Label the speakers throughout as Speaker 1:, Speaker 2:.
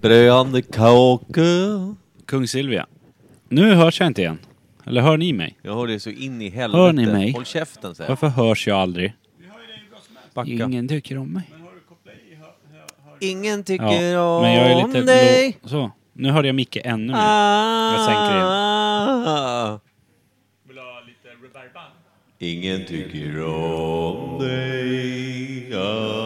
Speaker 1: Bröande kakor.
Speaker 2: Kung Silvia. Nu hörs jag inte igen. Eller hör ni mig?
Speaker 1: Jag hör det så in i helvete.
Speaker 2: Hör ni mig?
Speaker 1: Håll käften säger jag.
Speaker 2: Varför hörs jag aldrig?
Speaker 1: Backa.
Speaker 2: Ingen tycker om mig.
Speaker 1: Ingen
Speaker 2: Ja,
Speaker 1: tycker
Speaker 2: men jag är
Speaker 1: om
Speaker 2: lite...
Speaker 1: dig.
Speaker 2: lo- Så. Nu hörde jag Micke ännu mer.
Speaker 1: Ah.
Speaker 2: Jag sänker
Speaker 1: Ingen tycker om dig. Ah.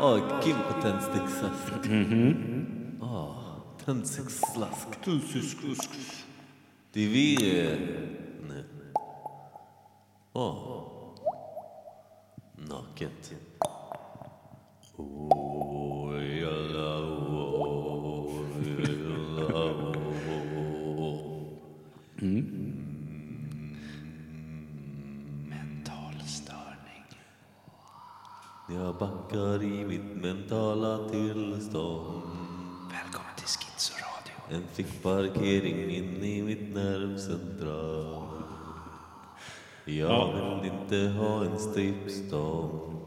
Speaker 1: Åh, Kim på tändsticksask. Åh, tändsticksask. Det är vi... eh, nu. Åh. Naket. Jag backar i mitt mentala tillstånd
Speaker 2: Välkommen till Schizoradio.
Speaker 1: En fick parkering in i mitt nervcentral Jag vill inte ha en strippstång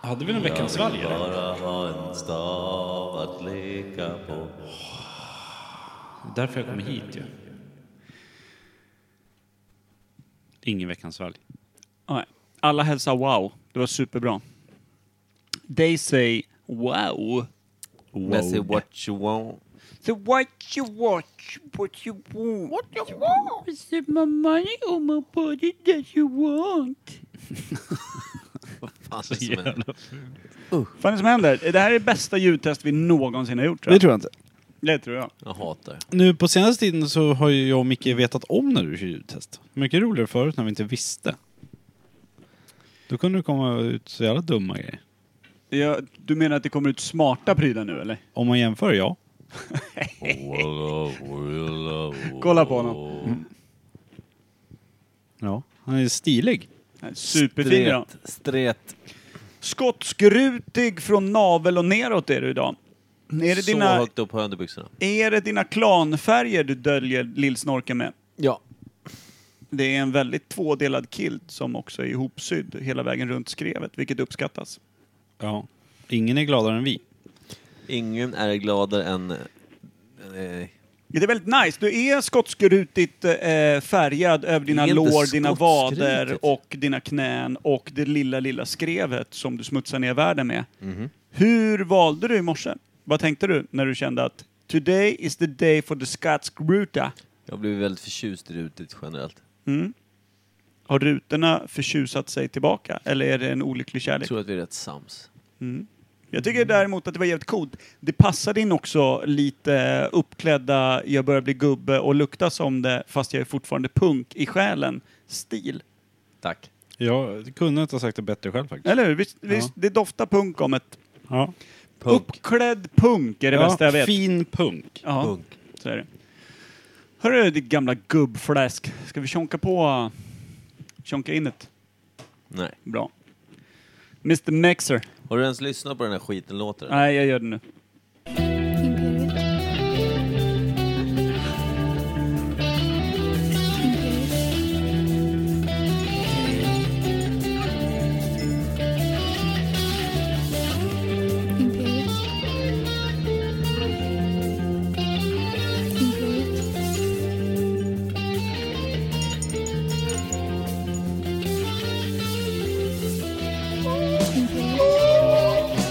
Speaker 2: Hade vi någon veckans valg eller?
Speaker 1: Bara ha en stav att leka på
Speaker 2: Det är därför jag kommer hit ju. Ingen veckans valg.
Speaker 3: Nej. Alla hälsar wow. Det var superbra. They say wow.
Speaker 1: Messy what you want
Speaker 3: So what you watch, what you want. What you want. Is it my money or my body that you want?
Speaker 1: Fan, det är som en-
Speaker 3: Vad fan är det som händer? Det här är det bästa ljudtest vi någonsin har gjort tror
Speaker 4: Det
Speaker 3: jag.
Speaker 4: tror jag inte.
Speaker 3: Det tror jag.
Speaker 1: Jag hatar
Speaker 2: Nu på senaste tiden så har ju jag och Micke vetat om när du kör ljudtest. Mycket roligare förut när vi inte visste. Då kunde du komma ut så jävla dumma grejer.
Speaker 3: Ja, du menar att det kommer ut smarta prylar nu eller?
Speaker 2: Om man jämför, ja.
Speaker 3: Kolla på honom.
Speaker 2: Ja. Han är stilig.
Speaker 3: Superfin idag.
Speaker 1: Stret
Speaker 3: Skotskrutig från navel och neråt är du idag. Är det,
Speaker 1: Så
Speaker 3: dina,
Speaker 1: högt upp på underbyxorna
Speaker 3: är det dina klanfärger du döljer lillsnorken med?
Speaker 1: Ja
Speaker 3: Det är en väldigt tvådelad kilt som också är ihopsydd hela vägen runt skrevet, vilket uppskattas.
Speaker 2: Ja. Ingen är gladare än vi.
Speaker 1: Ingen är gladare än... eh, Nej.
Speaker 3: Det är väldigt nice. Du är skotskrutigt eh, färgad över dina
Speaker 1: Det är inte
Speaker 3: lår, dina
Speaker 1: skotskrutigt.
Speaker 3: vader och dina knän och det lilla, lilla skrevet som du smutsar ner världen med. Hur valde du i morse? Vad tänkte du när du kände att Today is the day for the skotskruta?
Speaker 1: Jag blev väldigt förtjust i rutigt generellt.
Speaker 3: Mm. Har rutorna förtjusat sig tillbaka eller är det en olycklig
Speaker 1: Jag
Speaker 3: kärlek?
Speaker 1: tror att vi är rätt sams.
Speaker 3: Jag tycker däremot att det var jävligt coolt. Det passade in också lite uppklädda, jag börjar bli gubbe och lukta som det fast jag är fortfarande punk i själen. Stil.
Speaker 1: Tack.
Speaker 2: Jag kunde inte ha sagt det bättre själv faktiskt.
Speaker 3: Eller hur? Visst, visst, det doftar punk om ett...
Speaker 2: Ja.
Speaker 1: Punk.
Speaker 3: Uppklädd punk är det bästa jag vet.
Speaker 2: Fin punk.
Speaker 3: ja,
Speaker 1: Punk.
Speaker 3: så är det. Hörru ditt gamla gubbfläsk, ska vi tjonka på... Tjonka in ett?
Speaker 1: Nej.
Speaker 3: Bra. Mr Mixer.
Speaker 1: Har du ens lyssnat på den här skiten låter den?
Speaker 3: Nej, jag gör det nu.
Speaker 5: Imperiet. Imperiet. Imperiet. Imperiet. Imperiet.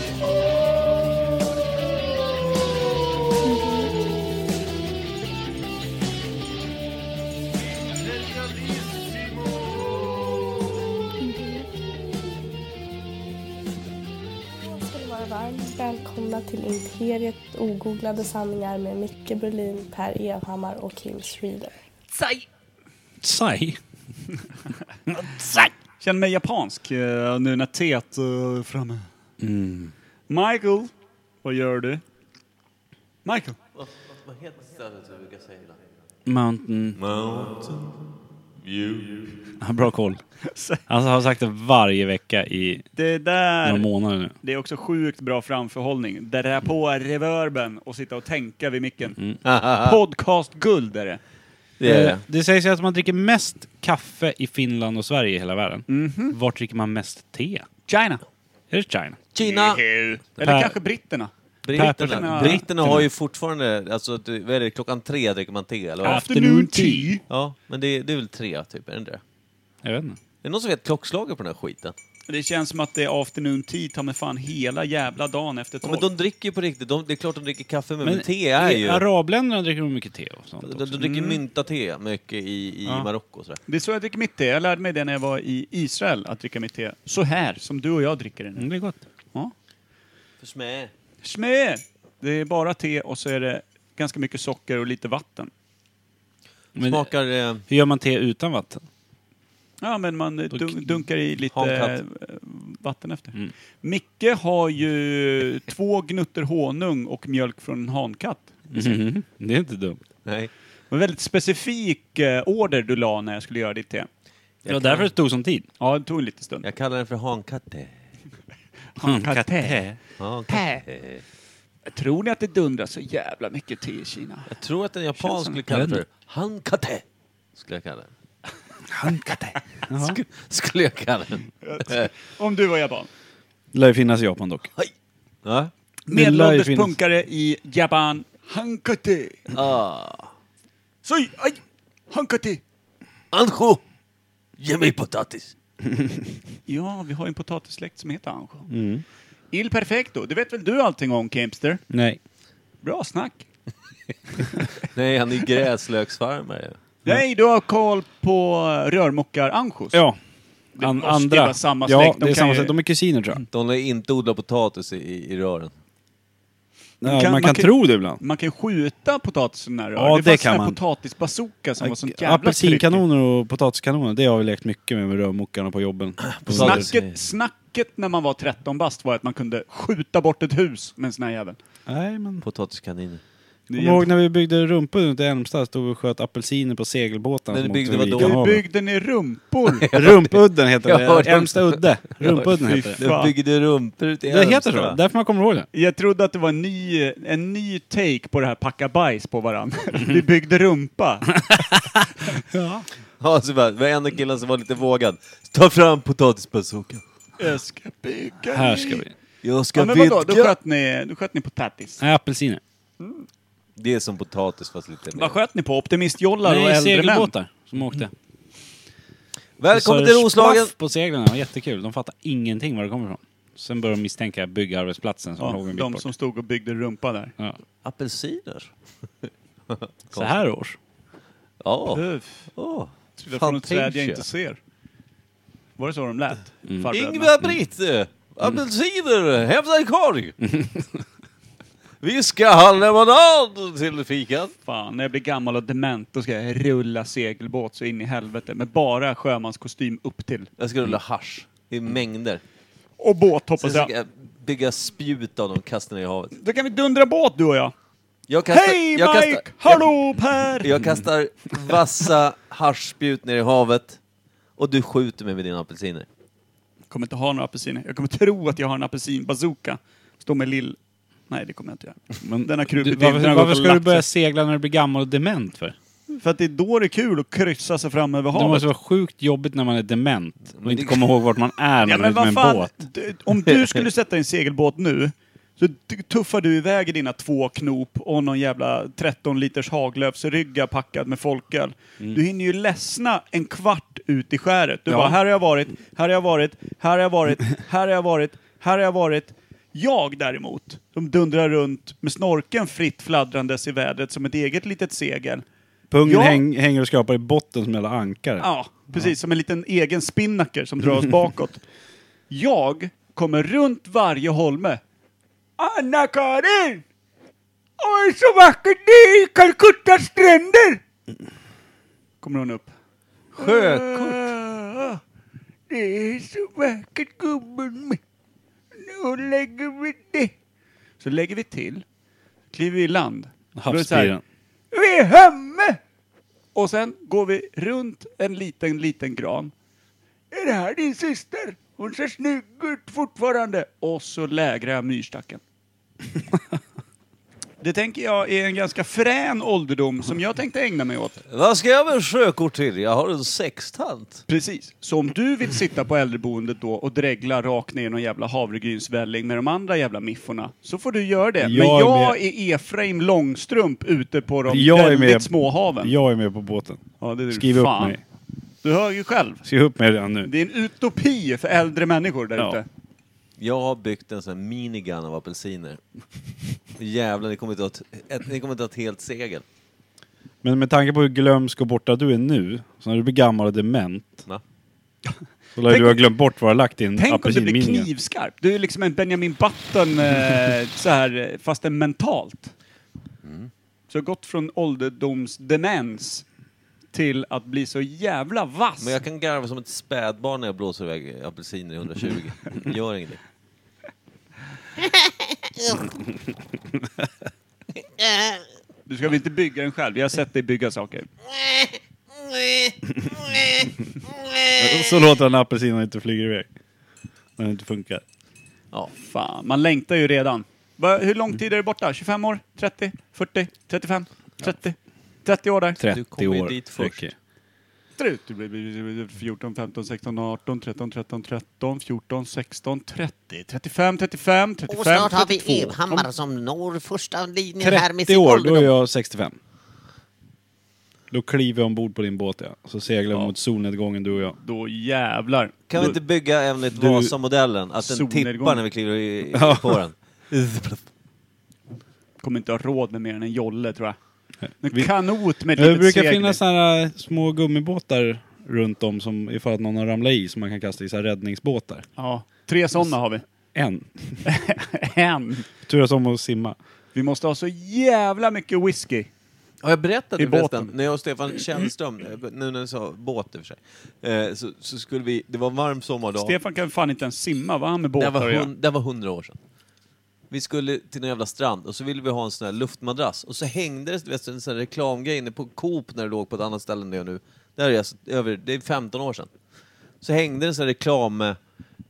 Speaker 6: ska ni vara varmt välkomna till Imperiet ogooglade sanningar med Micke Berlin, Per Evhammar och Kim Schreeder.
Speaker 2: Tsai.
Speaker 3: Känner mig japansk eh, nu när teet är framme.
Speaker 2: Mm.
Speaker 3: Michael, vad gör du? Michael?
Speaker 1: Vad heter stället du brukar säga ibland?
Speaker 2: Mountain.
Speaker 1: Mountain View.
Speaker 2: Ja, Bra koll. Alltså, han har sagt det varje vecka i
Speaker 3: Det
Speaker 2: några
Speaker 3: där,
Speaker 2: månader nu.
Speaker 3: det är också sjukt bra framförhållning. Det
Speaker 2: Mm.
Speaker 3: där på reverben och sitta och tänka vid micken. Podcast-guld är det.
Speaker 1: Det är det.
Speaker 2: Eh, det sägs ju att man dricker mest kaffe i Finland och Sverige i hela världen.
Speaker 3: Mhm.
Speaker 2: Var dricker man mest te?
Speaker 3: China.
Speaker 2: Är det China?
Speaker 1: Kina,
Speaker 3: Eller
Speaker 2: Per-
Speaker 3: kanske britterna.
Speaker 1: britterna,
Speaker 3: Pepparna.
Speaker 1: britterna har ju fortfarande, alltså, du- vad är det, klockan tre dricker man te eller vad?
Speaker 2: Ja. Afternoon tea.
Speaker 1: Ja, men det, det är väl tre typ, är det inte det?
Speaker 2: Jag vet inte.
Speaker 1: Är det någon som vet klockslaget på den här skiten?
Speaker 3: Det känns som att det är afternoon tea ta mig fan hela jävla dagen efter
Speaker 1: Ja,
Speaker 3: tolv.
Speaker 1: men de dricker ju på riktigt, de, det är klart de dricker kaffe men,
Speaker 2: Men
Speaker 1: med te är
Speaker 2: I
Speaker 1: ju...
Speaker 2: arabländerna dricker de mycket te och sånt
Speaker 1: De,
Speaker 2: också.
Speaker 1: de dricker mynta-te mycket i, i
Speaker 2: Ja.
Speaker 1: Marocko och sådär.
Speaker 3: Det är så jag dricker mitt te. Jag lärde mig det när jag var i Israel, att dricka mitt te. Så här, som du och jag dricker det nu.
Speaker 2: Mm, det är gott.
Speaker 3: Ja.
Speaker 1: För smä.
Speaker 3: Smö! Det är bara te och så är det ganska mycket socker och lite vatten.
Speaker 2: Men
Speaker 1: Smakar... Eh,
Speaker 2: hur gör man te utan vatten?
Speaker 3: Ja, men man eh, dun dunkar i lite
Speaker 1: Handkatt.
Speaker 3: eh, vatten efter.
Speaker 2: Mm.
Speaker 3: Micke har ju två gnutter honung och mjölk från en hankatt.
Speaker 2: Mhm. Det är inte dumt.
Speaker 1: nej.
Speaker 3: Det var en väldigt specifik eh, order du la när jag skulle göra ditt te.
Speaker 2: Det var därför det tog sån tid.
Speaker 3: Ja, det tog en liten stund.
Speaker 1: Jag kallar den för hankatte.
Speaker 3: Hankatte.
Speaker 1: Hankatte.
Speaker 3: Tror ni att det dundrar så jävla mycket te i Kina?
Speaker 1: Jag tror att en
Speaker 3: Känns
Speaker 1: japan
Speaker 3: som-
Speaker 1: skulle kalla
Speaker 2: Jag
Speaker 1: den
Speaker 2: vet
Speaker 1: för hankatte. Skulle jag kalla den.
Speaker 2: Hankate.
Speaker 1: Sk- skulle jag kalla den.
Speaker 3: Om du var japan.
Speaker 2: Lär ju finnas i Japan dock.
Speaker 1: Ja.
Speaker 2: Det lär ju
Speaker 3: Medelålders
Speaker 2: finnas.
Speaker 3: punkare i Japan. Hankate.
Speaker 1: Ah.
Speaker 3: Soj, aj! Hankate.
Speaker 1: Anjo! Ge mig potatis!
Speaker 3: Ja, vi har ju en potatissläkt som heter Anjo.
Speaker 2: Mm.
Speaker 3: Il Perfecto, det vet väl du allting om, Kempster?
Speaker 2: Nej.
Speaker 3: Bra snack.
Speaker 1: Nej, han är gräslöksfarmare.
Speaker 3: Nej, du har koll på rörmokar Anjos.
Speaker 2: Ja.
Speaker 3: Det
Speaker 2: An-
Speaker 3: måste ju
Speaker 2: andra.
Speaker 3: vara samma
Speaker 2: ja,
Speaker 3: släkt. De
Speaker 2: det är
Speaker 3: kan
Speaker 2: samma
Speaker 3: ju-
Speaker 2: släkt. De är kusiner tror jag.
Speaker 1: De lär inte odla potatis i, i, i rören.
Speaker 2: Ja,
Speaker 3: Man
Speaker 2: man kan,
Speaker 3: kan- man kan-
Speaker 2: tro det ibland.
Speaker 3: Man kan skjuta potatisen när
Speaker 2: Ja,
Speaker 3: det
Speaker 2: det
Speaker 3: fanns
Speaker 2: kan
Speaker 3: en
Speaker 2: man.
Speaker 3: potatisbazooka som var sånt jävla tryck.
Speaker 2: Apelsinkanoner och potatiskanoner, det har vi lekt mycket med med rörmokarna på jobben. På
Speaker 1: Snack.
Speaker 3: Snacket, snacket när man var 13 bast var att man kunde skjuta bort ett hus med en sån här jävel.
Speaker 2: Nej, men...
Speaker 1: Potatiskaniner.
Speaker 3: Det
Speaker 2: Kommer du ihåg
Speaker 3: hjälpte.
Speaker 2: när vi byggde rumpor ute i Älmstad? Stod vi och sköt apelsiner på segelbåtarna.
Speaker 1: Men ni
Speaker 2: som
Speaker 1: byggde
Speaker 2: åkte vid
Speaker 1: vadå?
Speaker 2: Lika
Speaker 3: Du
Speaker 2: havet.
Speaker 3: byggde ner rumpor.
Speaker 2: Rumpudden
Speaker 1: Jag
Speaker 2: heter
Speaker 1: hörde
Speaker 2: det. Älmsta udde. Rumpudden
Speaker 3: Fy
Speaker 2: heter det.
Speaker 3: Fan.
Speaker 1: De byggde rumpor ute i
Speaker 2: Det heter
Speaker 1: Älmstad.
Speaker 2: så. Därför man kommer ihåg det.
Speaker 3: Jag trodde att det var en ny, en ny take på det här packa bajs på varandra.
Speaker 2: Mm.
Speaker 3: Vi byggde rumpa.
Speaker 1: Ja, så bara, det var en av killarna som var lite vågad. Ta fram potatisbazookan.
Speaker 3: Jag ska bygga
Speaker 2: Här ska vi.
Speaker 1: Jag ska
Speaker 3: Ja, men vadå, då
Speaker 1: vidga.
Speaker 3: sköt ni, då sköt ni potatis.
Speaker 2: Nej, apelsiner.
Speaker 1: Det är som potatis fast lite mer.
Speaker 3: Vad sköt ni på? Optimistjollar och
Speaker 2: Nej,
Speaker 3: äldre män? Mm.
Speaker 2: segelbåtar som åkte.
Speaker 1: Välkommen
Speaker 2: Så
Speaker 1: till Roslagen!
Speaker 2: splaff på seglen, det var jättekul. De fattar ingenting var det kommer ifrån. Sen började de misstänka byggarbetsplatsen som låg
Speaker 3: Ja,
Speaker 2: en bit
Speaker 3: de
Speaker 2: bort.
Speaker 3: som stod och byggde rumpa där.
Speaker 2: Ja.
Speaker 1: Apelsiner?
Speaker 2: Så här års.
Speaker 1: Ja.
Speaker 3: Uff,
Speaker 1: Oh.
Speaker 3: trillar
Speaker 1: Fan,
Speaker 3: från ett träd
Speaker 1: tänk Mm.
Speaker 3: jag
Speaker 1: sig.
Speaker 3: inte ser. Var det så de lät? farbröderna?
Speaker 1: Ingvar-Britt! eh, Apelsiner! Hämta en korg! Vi ska ha lemonad till fikan.
Speaker 3: Fan, när jag blir gammal och dement då ska jag rulla segelbåt så in i helvete med bara sjömanskostym upp till.
Speaker 1: Jag ska rulla hasch i mängder.
Speaker 3: Och båt
Speaker 1: Sen
Speaker 3: hoppas
Speaker 1: ska
Speaker 3: jag.
Speaker 1: jag bygga spjut av dem och kasta ner i havet.
Speaker 3: Då kan vi dundra båt du och jag.
Speaker 1: Jag kastar,
Speaker 3: Hej Mike!
Speaker 1: jag kastar,
Speaker 3: Hallå Per!
Speaker 1: Jag, jag kastar vassa haschspjut ner i havet och du skjuter mig med dina apelsiner.
Speaker 3: kommer inte ha några apelsiner. Jag kommer tro att jag har en apelsinbazooka. Stå med lill... Nej, det kommer jag inte göra.
Speaker 2: Men
Speaker 3: Den har krupit
Speaker 2: du,
Speaker 3: in,
Speaker 2: varför
Speaker 3: den har
Speaker 2: varför
Speaker 3: gått och
Speaker 2: ska du
Speaker 3: lagt
Speaker 2: börja
Speaker 3: sig.
Speaker 2: segla när du blir gammal och dement för?
Speaker 3: För att det är då det är kul att kryssa sig fram över
Speaker 2: Det
Speaker 3: havet.
Speaker 2: måste vara sjukt jobbigt när man är dement och inte kommer ihåg vart man är när man är
Speaker 3: Ja, men
Speaker 2: ute med en
Speaker 3: vad fan.
Speaker 2: båt.
Speaker 3: Du, om du skulle sätta dig i en segelbåt nu, så t- tuffar du iväg i dina två knop och någon jävla 13 liters Haglöfsrygga packad med folköl. Du hinner ju ledsna en kvart ut i skäret. Du
Speaker 2: Mm. Ja.
Speaker 3: bara, här har jag varit, här har jag varit, här har jag varit, här har jag varit, här har jag varit. Jag däremot, som dundrar runt med snorken fritt fladdrandes i vädret som ett eget litet segel.
Speaker 2: Pungen
Speaker 3: Ja.
Speaker 2: häng, hänger och skrapar i botten som jävla ankare.
Speaker 3: Ja, precis. Som en liten egen spinnaker som drar oss bakåt. Jag kommer runt varje holme. Anna-Karin! Oj, så vackert det är i Calcuttas stränder! Kommer hon upp.
Speaker 1: Sjökort!
Speaker 3: Ah, Det är så vackert gubben min. Nu lägger vi det. Så lägger vi till. Kliver i land. Då är det så här,
Speaker 2: Havspiren.
Speaker 3: vi är hemme! Och sen går vi runt en liten, liten gran. Är det här din syster? Hon ser snygg ut fortfarande. Och så lägrar jag myrstacken. Det tänker jag är en ganska frän ålderdom som jag tänkte ägna mig åt.
Speaker 1: Vad ska jag med sjökort till? Jag har en sextant.
Speaker 3: Precis. Så om du vill sitta på äldreboendet då och dregla rakt ner i någon jävla havregrynsvälling med de andra jävla mifforna, så får du göra det. Men
Speaker 2: Jag är
Speaker 3: jag är Efraim Långstrump ute på de
Speaker 2: Jag är
Speaker 3: väldigt
Speaker 2: med.
Speaker 3: små haven.
Speaker 2: Jag är med på båten.
Speaker 3: Ja, det är du
Speaker 2: Skriv upp
Speaker 3: fan.
Speaker 2: mig.
Speaker 3: Du hör ju själv.
Speaker 2: Skriv upp mig redan nu.
Speaker 3: Det är en utopi för äldre människor där
Speaker 2: Ja.
Speaker 3: ute.
Speaker 1: Jag har byggt en sån här minigun av apelsiner. Jävlar, ni kommer inte ha ett, ett, ni kommer inte ha ett helt segel.
Speaker 2: Men med tanke på hur glömsk och borta du är nu, så när du blir gammal och dement,
Speaker 1: Va?
Speaker 2: så lär
Speaker 3: Tänk-
Speaker 2: du ha glömt bort vad du har lagt i en
Speaker 3: Tänk om det blir
Speaker 2: apelsinminigun.
Speaker 3: knivskarp. Du är liksom en Benjamin Button, eh, så här, eh, fast en mentalt.
Speaker 1: Mm.
Speaker 3: Så jag har gått från ålderdomsdemens till att bli så jävla vass.
Speaker 1: Men jag kan garva som ett spädbarn när jag blåser iväg apelsiner i 120. Gör ingenting.
Speaker 3: Du ska väl inte bygga den själv? Jag har sett dig bygga saker.
Speaker 2: Så låter han apelsinen inte flyga iväg. När det inte funkar.
Speaker 3: Ja, fan. Man längtar ju redan. Va, hur
Speaker 2: Mm.
Speaker 3: lång tid är det borta? 25 år? 30? 40? 35? 30? 30 år där?
Speaker 2: 30
Speaker 1: kommer ju
Speaker 2: år
Speaker 1: dit först.
Speaker 2: räcker.
Speaker 3: Trut. Du blir- blir- blir 14, 15, 16, 18, 13, 13, 13, 14, 16, 30, 35, 35, 35,
Speaker 7: Och snart har vi
Speaker 3: 32.
Speaker 7: Evhammar som når första linjen här med
Speaker 2: 30
Speaker 7: sin
Speaker 2: år, då är
Speaker 7: ålderdom.
Speaker 2: jag 65. Då kliver jag ombord på din båt ja. Så seglar vi mot solnedgången du och jag.
Speaker 3: Då jävlar.
Speaker 1: Kan vi
Speaker 3: Då-
Speaker 1: inte bygga enligt
Speaker 2: Du-
Speaker 1: Vasamodellen? Att den
Speaker 3: Solnedgång.
Speaker 1: tippar när vi kliver i,
Speaker 2: Ja.
Speaker 1: på den.
Speaker 3: kommer inte ha råd med mer än en jolle tror jag. En
Speaker 2: Vi-
Speaker 3: kanot med ett
Speaker 2: Eh, Det
Speaker 3: litet
Speaker 2: brukar
Speaker 3: segel.
Speaker 2: finnas såna här eh, små gummibåtar runt om som ifall att någon har ramlat i som man kan kasta i så här räddningsbåtar.
Speaker 3: Ja, tre sådana har vi.
Speaker 2: En.
Speaker 3: en.
Speaker 2: Turas om att simma.
Speaker 3: Vi måste ha så jävla mycket whisky.
Speaker 1: Har jag berättat
Speaker 3: I
Speaker 1: det förresten?
Speaker 3: båten.
Speaker 1: När jag och Stefan Källström, eh, nu när du sa båt i och för sig, eh, så, så skulle vi, det var en varm sommardag.
Speaker 3: Stefan kan fan inte ens simma, vad har han med
Speaker 1: det, här
Speaker 3: båtar
Speaker 1: var
Speaker 3: att göra?
Speaker 1: hun, det här var hundra år sedan. Vi skulle till någon jävla strand och så ville vi ha en sån här luftmadrass och så hängde det du vet, en sån här reklamgrej inne på Coop när det låg på ett annat ställe än det är nu. Det här är alltså över, det är 15 år sedan. Så hängde det en sån här reklam, eh,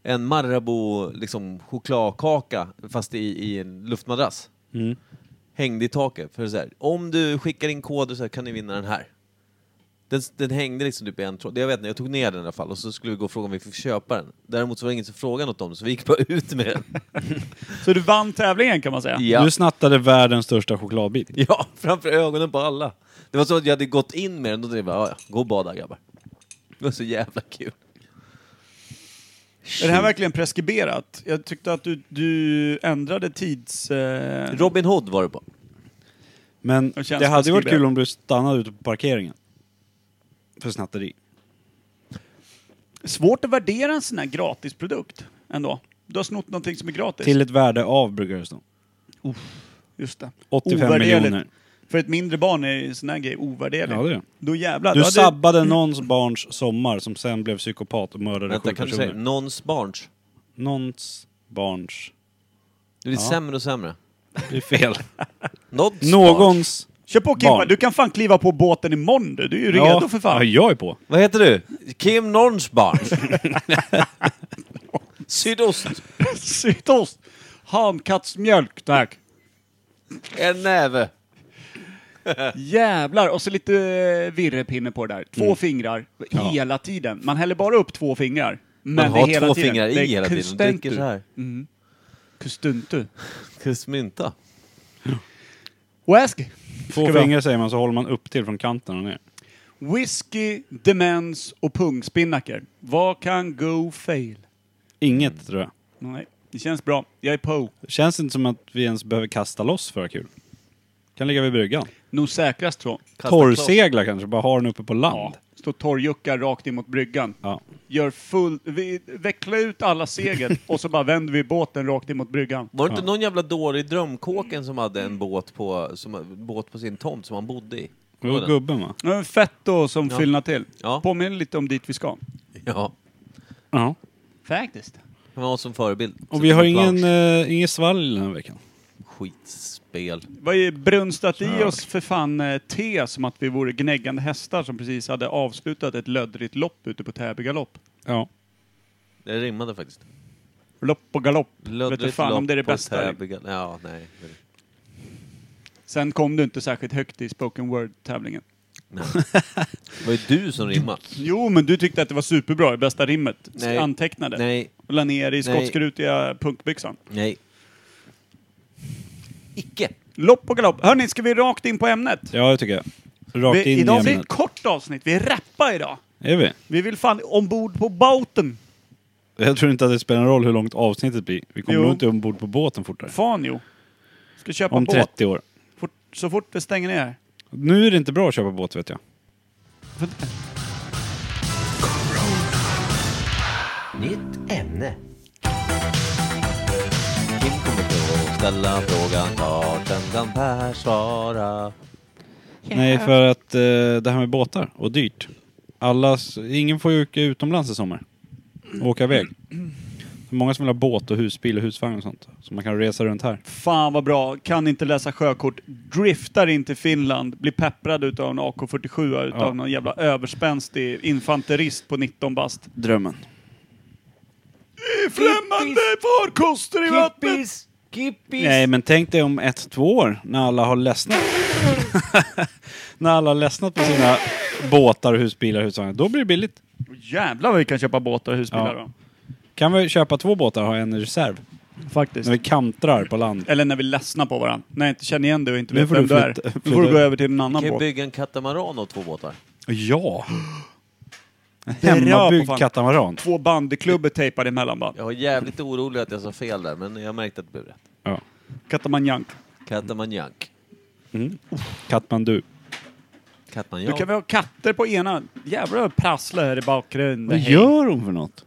Speaker 1: en Marabou liksom, chokladkaka fast i, i en luftmadrass. Hängde i taket. För så här, om du skickar in koder så här, kan ni vinna den här. Den, den hängde liksom typ i en tråd. Jag vet inte, jag tog ner den i alla fall och så skulle vi gå och fråga om vi fick köpa den. Däremot så var det ingen som frågade något om det, så vi gick bara ut med den.
Speaker 3: Så du vann tävlingen kan man säga.
Speaker 1: Ja.
Speaker 2: Du snattade världens största chokladbit.
Speaker 1: ja, framför ögonen på alla. Det var så att jag hade gått in med den och då tänkte jag bara, "Ja, ja, gå och bada grabbar. Det var så jävla kul.
Speaker 3: Är det här verkligen preskriberat? Jag tyckte att du, du ändrade tids... Eh...
Speaker 1: Robin Hood var det på.
Speaker 2: Men
Speaker 3: Det
Speaker 2: det,
Speaker 3: känns
Speaker 2: hade ju varit
Speaker 3: preskriberat.
Speaker 2: kul om du stannade ute på parkeringen. För snatteri.
Speaker 3: Svårt att värdera en sån här gratisprodukt ändå. Du har snott någonting som är gratis.
Speaker 2: Till ett värde av brukar det stå.
Speaker 3: Just det.
Speaker 2: 85
Speaker 3: Ovärderligt.
Speaker 2: miljoner.
Speaker 3: För ett mindre barn är ju sån här grej ovärderlig.
Speaker 2: Ja, det är det.
Speaker 3: Då jävlar.
Speaker 2: Du
Speaker 3: då hade-
Speaker 2: sabbade någons barns sommar som sen blev psykopat och mördade
Speaker 1: Vänta,
Speaker 2: sju
Speaker 1: kan du
Speaker 2: personer.
Speaker 1: säga Någons barns?
Speaker 2: Någons barns...
Speaker 1: Det blir sämre och sämre.
Speaker 2: Det är fel.
Speaker 1: Någons barns.
Speaker 2: Någons...
Speaker 3: Kör på Kimma,
Speaker 2: Barn.
Speaker 3: du kan fan kliva på båten imorgon du. Du är ju redo
Speaker 2: ja.
Speaker 3: för fan.
Speaker 2: Ja, jag är på.
Speaker 1: Vad heter du? Kim Någons barns. Sydost.
Speaker 3: Sydost! Hankattsmjölk, tack.
Speaker 1: En näve.
Speaker 3: Jävlar! Och så lite eh, virrepinne på det där.
Speaker 2: Mm.
Speaker 3: Två fingrar hela tiden. Man häller bara upp två fingrar. Men
Speaker 1: Man
Speaker 3: det är
Speaker 1: har
Speaker 3: hela
Speaker 1: två
Speaker 3: tiden.
Speaker 1: fingrar
Speaker 3: Det
Speaker 1: i
Speaker 3: är
Speaker 1: hela tiden. och
Speaker 3: kustentu.
Speaker 1: Dricker så här.
Speaker 3: Kustuntu.
Speaker 1: Kusmynta.
Speaker 3: Whisky.
Speaker 2: Två
Speaker 3: Ska vi ha?
Speaker 2: fingrar säger man så håller man upp till från kanten och ner.
Speaker 3: Whisky, demens och pungspinnaker. Vad kan go fail?
Speaker 2: Inget
Speaker 3: Mm.
Speaker 2: tror jag.
Speaker 3: Nej, det känns bra. Jag är på.
Speaker 2: Det känns inte som att vi ens behöver kasta loss för att ha kul. Kan ligga vid bryggan.
Speaker 3: Nog säkrast så.
Speaker 1: Kasta
Speaker 2: Torrsegla kanske, bara ha den uppe på
Speaker 3: Ja.
Speaker 2: land.
Speaker 3: Står torrjuckar rakt in mot bryggan.
Speaker 2: Ja.
Speaker 3: Gör full... Vi vecklar ut alla segel och så bara vänder vi båten rakt in mot bryggan.
Speaker 1: Var det inte någon jävla dåre i Drömkåken som hade en båt på, som, båt på sin tomt som han bodde i?
Speaker 2: Det var gubben va?
Speaker 3: Det var Fett då som
Speaker 1: Ja.
Speaker 3: fyllnad till.
Speaker 1: Ja.
Speaker 3: Påminner lite om dit vi ska.
Speaker 1: Ja.
Speaker 2: Ja.
Speaker 3: Faktiskt.
Speaker 1: Han var som förebild.
Speaker 2: Och vi har
Speaker 1: Sätter på
Speaker 2: ingen,
Speaker 1: plansch.
Speaker 2: eh, ingen svalg den här veckan.
Speaker 1: Skitspel.
Speaker 3: Vad är brunstat i oss för fan eh, te som att vi vore gnäggande hästar som precis hade avslutat ett löddrigt lopp ute på Täby galopp.
Speaker 2: Ja.
Speaker 1: Det rimmade faktiskt.
Speaker 3: Lopp och galopp. Vet du
Speaker 1: Löddrigt
Speaker 3: fan om
Speaker 1: lopp
Speaker 3: det är det
Speaker 1: på
Speaker 3: bästa.
Speaker 1: Täby gal- Ja, nej.
Speaker 3: Sen kom du inte särskilt högt i spoken word-tävlingen.
Speaker 1: Nej. Det var ju du som rimmade.
Speaker 3: Jo, men du tyckte att det var superbra i bästa rimmet.
Speaker 1: Nej.
Speaker 3: Antecknade.
Speaker 1: Nej,
Speaker 3: Och la ner i
Speaker 1: Nej.
Speaker 3: skotskrutiga punkbyxan.
Speaker 1: nej. Icke.
Speaker 3: Lopp och galopp. Hörni, ska vi rakt in på ämnet?
Speaker 2: Ja, det tycker jag. Rakt
Speaker 3: Vi,
Speaker 2: in
Speaker 3: idag
Speaker 2: i
Speaker 3: blir det ett
Speaker 2: ämnet.
Speaker 3: kort avsnitt. Vi rappar idag.
Speaker 2: Är vi?
Speaker 3: Vi vill fan ombord på båten.
Speaker 2: Jag tror inte att det spelar någon roll hur långt avsnittet blir. Vi kommer
Speaker 3: Jo.
Speaker 2: nog inte ombord på båten fortare.
Speaker 3: Fan jo. Ska köpa
Speaker 2: Om
Speaker 3: båt
Speaker 2: 30 år.
Speaker 3: Fort, så fort vi stänger ner.
Speaker 2: Nu är det inte bra att köpa båt vet jag.
Speaker 1: Nytt ämne. Kim kommer då ställa frågan klart, den kan Per svara.
Speaker 2: Nej, för att eh, det här med båtar och dyrt. Alla, s- ingen får ju åka utomlands i sommar. Och åka iväg. Så många som vill ha båt och husbil och husvagn och sånt. Så man kan resa runt här.
Speaker 3: Fan vad bra. Kan inte läsa sjökort. Driftar in till Finland. Blir pepprad utav en AK47 utav
Speaker 2: Ja.
Speaker 3: någon jävla överspänstig infanterist på 19 bast.
Speaker 2: Drömmen.
Speaker 3: Främmande farkoster i vattnet!
Speaker 1: Kippis!
Speaker 2: Nej, men tänk dig om ett, två år när alla har ledsnat. när alla har ledsnat på sina båtar, husbilar och husvagnar. Då blir det billigt.
Speaker 3: Jävlar vad vi kan köpa båtar och husbilar
Speaker 2: Ja. Kan vi köpa två båtar och ha en i reserv?
Speaker 3: då. Faktiskt.
Speaker 2: När vi kantrar på land.
Speaker 3: Eller när vi ledsnar på varandra. När jag inte känner igen dig och inte
Speaker 2: Nu
Speaker 3: vet
Speaker 2: får
Speaker 3: vem
Speaker 2: du
Speaker 3: du är.
Speaker 2: flytta-
Speaker 3: Då får du
Speaker 2: flytta-
Speaker 3: gå över till en annan
Speaker 1: Kan ju
Speaker 3: båt.
Speaker 1: bygga en katamaran och två båtar.
Speaker 2: Ja! En
Speaker 3: Bra,
Speaker 2: hemmabyggd
Speaker 3: för fan.
Speaker 2: katamaran.
Speaker 3: Två bandyklubbor tejpade emellan bara.
Speaker 1: Jag var jävligt orolig att jag sa fel där, men jag märkte att det blev rätt.
Speaker 2: Ja.
Speaker 3: Katamanjank.
Speaker 1: Katamanjank.
Speaker 2: Katmandu.
Speaker 3: Du kan
Speaker 1: Katmanjank.
Speaker 3: väl ha katter på ena? Jävlar vad prasslar här i bakgrunden.
Speaker 2: Vad gör hon för något?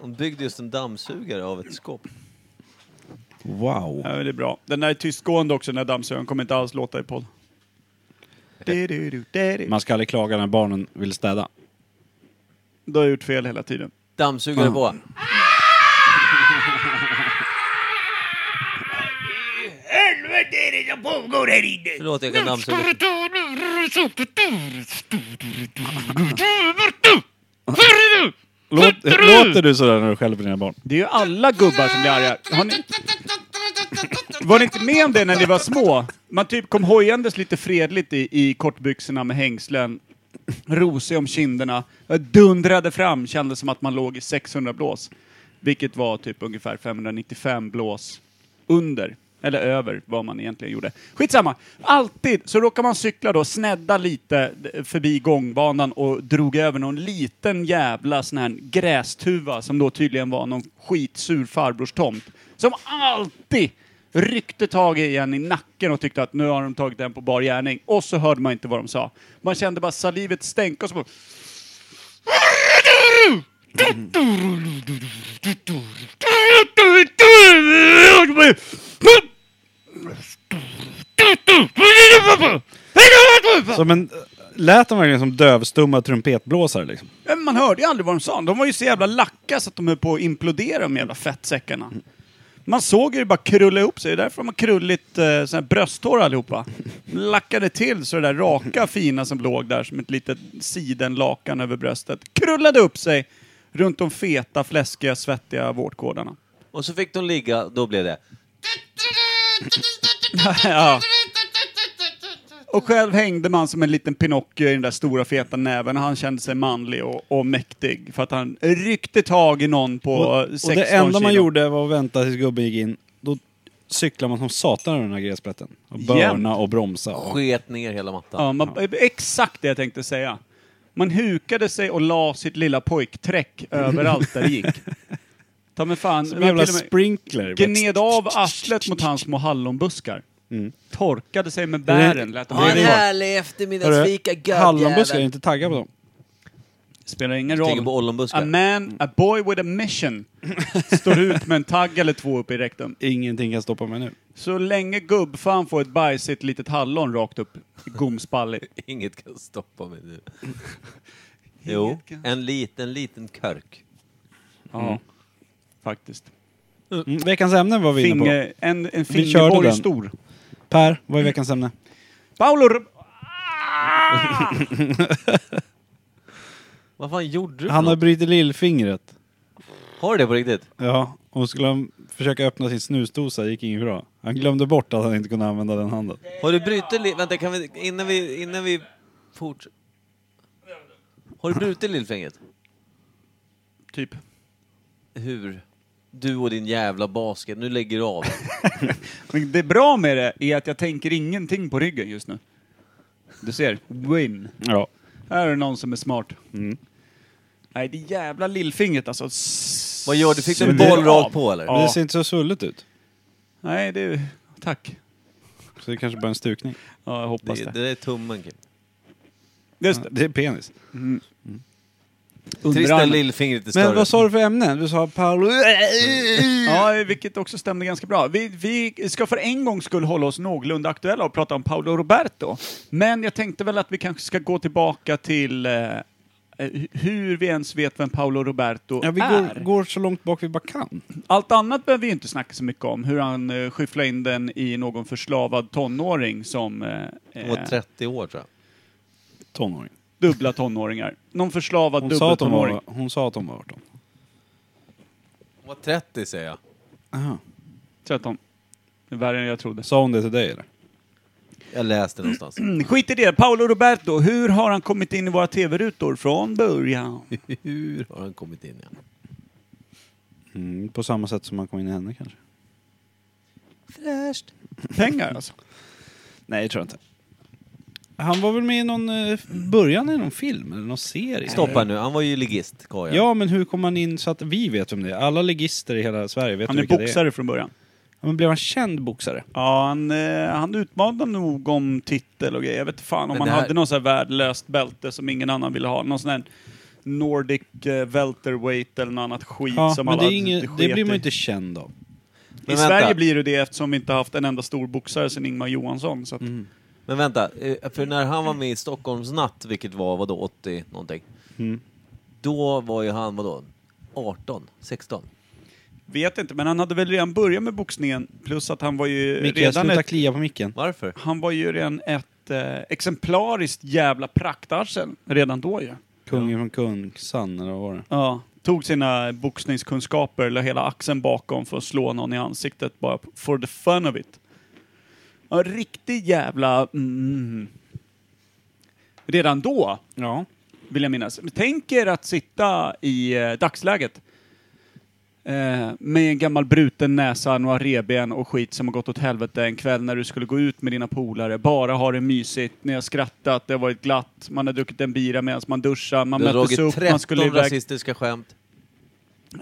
Speaker 1: Hon byggde just en dammsugare av ett skåp.
Speaker 2: Wow.
Speaker 3: Ja, men det är bra. Den där är tystgående också, den där dammsugaren. Kommer inte alls låta i podd. Du-du-du, du-du.
Speaker 2: Man ska aldrig klaga när barnen vill städa.
Speaker 3: Då har jag gjort fel hela tiden.
Speaker 1: Dammsugare på. Förlåt, jag kan dammsuga.
Speaker 2: Låt, låter du sådär när du skäller på dina barn?
Speaker 3: Det är ju alla gubbar som blir arga. Har ni... Var ni inte med om det när ni var små? Man typ kom hojandes lite fredligt i, i kortbyxorna med hängslen, rosig om kinderna, dundrade fram, kändes som att man låg i 600 blås. Vilket var typ ungefär 595 blås under, eller över, vad man egentligen gjorde. Skitsamma! Alltid så råkar man cykla då, snedda lite d- förbi gångbanan och drog över någon liten jävla sån här grästuva som då tydligen var någon skitsur farbrors tomt. Som alltid ryckte tag i en i nacken och tyckte att nu har de tagit den på bar gärning. Och så hörde man inte vad de sa. Man kände bara salivet stänka och så bara...
Speaker 2: Som en, lät de verkligen som dövstumma trumpetblåsare liksom?
Speaker 3: Men man hörde ju aldrig vad de sa. De var ju så jävla lacka så att de höll på att implodera de jävla fettsäckarna. Man såg ju det bara krulla ihop sig. Det är därför de har krulligt eh, såna här brösthår allihopa. Lackade till så det där raka fina som låg där som ett litet sidenlakan över bröstet krullade upp sig runt de feta, fläskiga, svettiga vårtgårdarna.
Speaker 1: Och så fick de ligga, då blev det...
Speaker 3: ja. Och själv hängde man som en liten Pinocchio i den där stora feta näven och han kände sig manlig och, och mäktig för att han ryckte tag i någon på
Speaker 2: Och, och
Speaker 3: 16
Speaker 2: det enda man
Speaker 3: kilo.
Speaker 2: gjorde var att vänta tills gubben gick in. Då cyklade man som satan över den här gräsplätten. Och
Speaker 3: Jämt.
Speaker 2: börna och bromsa.
Speaker 1: Sket ner hela mattan.
Speaker 3: Ja, man, Exakt det jag tänkte säga. Man hukade sig och la sitt lilla pojkträck överallt där det gick. Ta mig fan,
Speaker 2: Som en
Speaker 3: man
Speaker 2: jävla
Speaker 3: till och med
Speaker 2: sprinkler.
Speaker 3: gned av arslet mot hans små hallonbuskar.
Speaker 2: Mm.
Speaker 3: Torkade sig med bären, lät dem
Speaker 2: Ja,
Speaker 1: Ha en
Speaker 2: det är-
Speaker 3: ligga.
Speaker 1: härlig eftermiddagsfika
Speaker 2: Hörru, Hallonbuskar är
Speaker 1: gubbjävel.
Speaker 2: inte taggade på dem.
Speaker 3: Spelar ingen
Speaker 1: Jag tänker
Speaker 3: roll.
Speaker 1: på ollonbuskar.
Speaker 3: A
Speaker 2: Mm.
Speaker 3: man, a boy with a mission. Står ut med en tagg eller två upp i rektum.
Speaker 2: Ingenting kan stoppa mig nu.
Speaker 3: Så länge gubbfan får ett bajsigt litet hallon rakt upp i gomspallet.
Speaker 1: Inget kan stoppa mig nu. Jo,
Speaker 3: kan-
Speaker 1: en liten, liten körk.
Speaker 3: Ja, faktiskt.
Speaker 2: Mm, veckans ämne var vi inne på.
Speaker 3: Finger, en
Speaker 2: körde
Speaker 3: en fingerborg
Speaker 2: den.
Speaker 3: stor.
Speaker 2: Per, vad är veckans ämne?
Speaker 3: Paolo... R-
Speaker 1: Vad fan gjorde du för
Speaker 2: Han har
Speaker 1: något?
Speaker 2: brutit lillfingret.
Speaker 1: Har du det på riktigt?
Speaker 2: Ja, och skulle han försöka öppna sin snusdosa gick inget bra. Han glömde bort att han inte kunde använda den handen.
Speaker 1: Har du brutit li- Vänta, kan vi... Innan vi... Innan vi fort... Har du brutit lillfingret?
Speaker 3: Typ.
Speaker 1: Hur? Du och din jävla basket, nu lägger du av.
Speaker 3: Men det bra med det är att jag tänker ingenting på ryggen just nu. Du ser, win.
Speaker 2: Ja.
Speaker 3: Här är det någon som är smart.
Speaker 2: Mm.
Speaker 3: Nej, det jävla lillfingret alltså.
Speaker 1: Vad gör du? Fick du en
Speaker 3: Suger
Speaker 1: boll rakt
Speaker 3: av.
Speaker 1: på eller?
Speaker 2: Men
Speaker 3: Ja.
Speaker 2: det ser inte så svulligt ut.
Speaker 3: Nej, det... Tack.
Speaker 2: Så det kanske bara är en stukning.
Speaker 3: Ja, jag hoppas
Speaker 1: Det, det
Speaker 3: det.
Speaker 1: där är tummen Kim.
Speaker 3: Just
Speaker 2: Det är penis.
Speaker 3: det.
Speaker 1: Trist när
Speaker 3: Underarmen.
Speaker 1: lillfingret är större.
Speaker 2: Men vad sa du för ämnen? Du sa Paolo... Mm.
Speaker 3: Ja, vilket också stämde ganska bra. Vi, vi ska för en gång skulle hålla oss någorlunda aktuella och prata om Paolo Roberto. Men jag tänkte väl att vi kanske ska gå tillbaka till eh, eh, hur vi ens vet vem Paolo Roberto
Speaker 2: Ja, vi
Speaker 3: är.
Speaker 2: går, går så långt bak vi bara kan.
Speaker 3: Allt annat behöver vi ju inte snacka så mycket om. Hur han eh, skyfflade in den i någon förslavad tonåring som... Eh,
Speaker 1: Hon var
Speaker 3: eh,
Speaker 1: 30 år tror jag.
Speaker 2: Tonåring.
Speaker 3: dubbla tonåringar. Någon förslavad
Speaker 2: Hon sa, att hon,
Speaker 3: dubbeltonåring.
Speaker 2: var, hon sa att hon var 18.
Speaker 1: Hon var 30 säger jag.
Speaker 2: Aha.
Speaker 3: 13. Det är Värre än jag trodde.
Speaker 2: Sa hon det till dig eller?
Speaker 1: Jag läste någonstans.
Speaker 3: Mm, Skit i det. Paolo Roberto, hur har han kommit in i våra tv-rutor från början?
Speaker 1: Hur har han kommit in igen?
Speaker 2: Mm, på samma sätt som han kom in i henne kanske?
Speaker 1: Fräscht.
Speaker 3: Pengar alltså.
Speaker 2: Nej, jag tror inte. Han var väl med i någon... eh, Början i någon film eller någon serie?
Speaker 1: Stoppa nu, han var ju ligist, Kaja.
Speaker 2: Ja, men hur kom han in så att vi vet om det är? Alla legister i hela Sverige vet
Speaker 3: Han är
Speaker 2: vilka det är.
Speaker 3: boxare Mm, från början.
Speaker 2: Ja, men blev han känd boxare?
Speaker 3: Ja, han, eh, han utmanade nog om titel och grejer. Jag vet fan om
Speaker 1: Men
Speaker 3: han
Speaker 1: det här-
Speaker 3: hade någon sån här värdelöst bälte som ingen annan ville ha. Någon sån här Nordic eh, welterweight eller något annat skit
Speaker 2: Ja,
Speaker 3: som
Speaker 2: men det,
Speaker 3: alla
Speaker 2: är inget, det
Speaker 3: sket
Speaker 2: blir man
Speaker 3: i.
Speaker 2: ju inte känd av.
Speaker 1: Men
Speaker 3: I
Speaker 1: vänta.
Speaker 3: Sverige blir det det eftersom vi inte haft en enda stor boxare sedan Ingmar Johansson. Så att,
Speaker 2: Mm.
Speaker 1: Men vänta, eh, för när han var med i Stockholms natt, vilket var vadå, 80 någonting. Då var ju han vadå, 18, 16?
Speaker 3: Vet inte, men han hade väl redan börjat med boxningen. Plus att han var ju
Speaker 2: Micke,
Speaker 3: redan
Speaker 2: sluta
Speaker 3: ett,
Speaker 2: klia på micken.
Speaker 1: Varför?
Speaker 3: han var ju redan ett eh, exemplariskt jävla praktarsel redan då ju.
Speaker 2: Kungen från Kungsan, eller vad var det?
Speaker 3: Ja. Tog sina boxningskunskaper, la hela axeln bakom för att slå någon i ansiktet bara p- for the fun of it. Ja, riktig jävla... Mm. Redan då
Speaker 2: Ja.
Speaker 3: vill jag minnas. Men Tänk er att sitta i eh, dagsläget eh, med en gammal bruten näsa, några revben och skit som har gått åt helvete en kväll när du skulle gå ut med dina polare, bara ha det mysigt, ni har skrattat, det har varit glatt, man har druckit en bira medan man duschar, man
Speaker 1: Du har
Speaker 3: möttes
Speaker 1: dragit
Speaker 3: upp, man
Speaker 1: 13
Speaker 3: skulle iväg
Speaker 1: rasistiska skämt.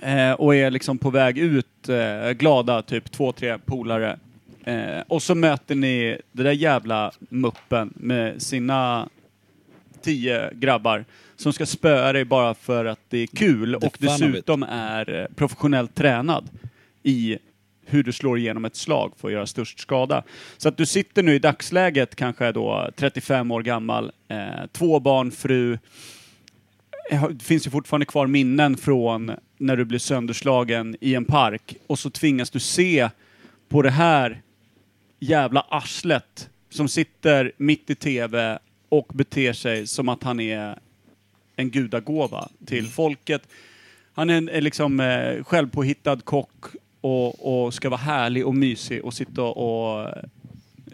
Speaker 3: eh, och är liksom på väg ut, eh, glada, typ två, tre polare. Eh, och så möter ni den där jävla muppen med sina tio grabbar som ska spöa dig bara för att det är kul
Speaker 2: The
Speaker 3: och
Speaker 2: fun of it.
Speaker 3: dessutom är eh, professionellt tränad i hur du slår igenom ett slag för att göra störst skada. Så att du sitter nu i dagsläget kanske då 35 år gammal, eh, två barn, fru, jag Eh, har- det finns ju fortfarande kvar minnen från när du blev sönderslagen i en park och så tvingas du se på det här jävla arslet som sitter mitt i tv och beter sig som att han är en gudagåva till folket. Han är en är liksom eh, självpåhittad kock och, och ska vara härlig och mysig och sitta och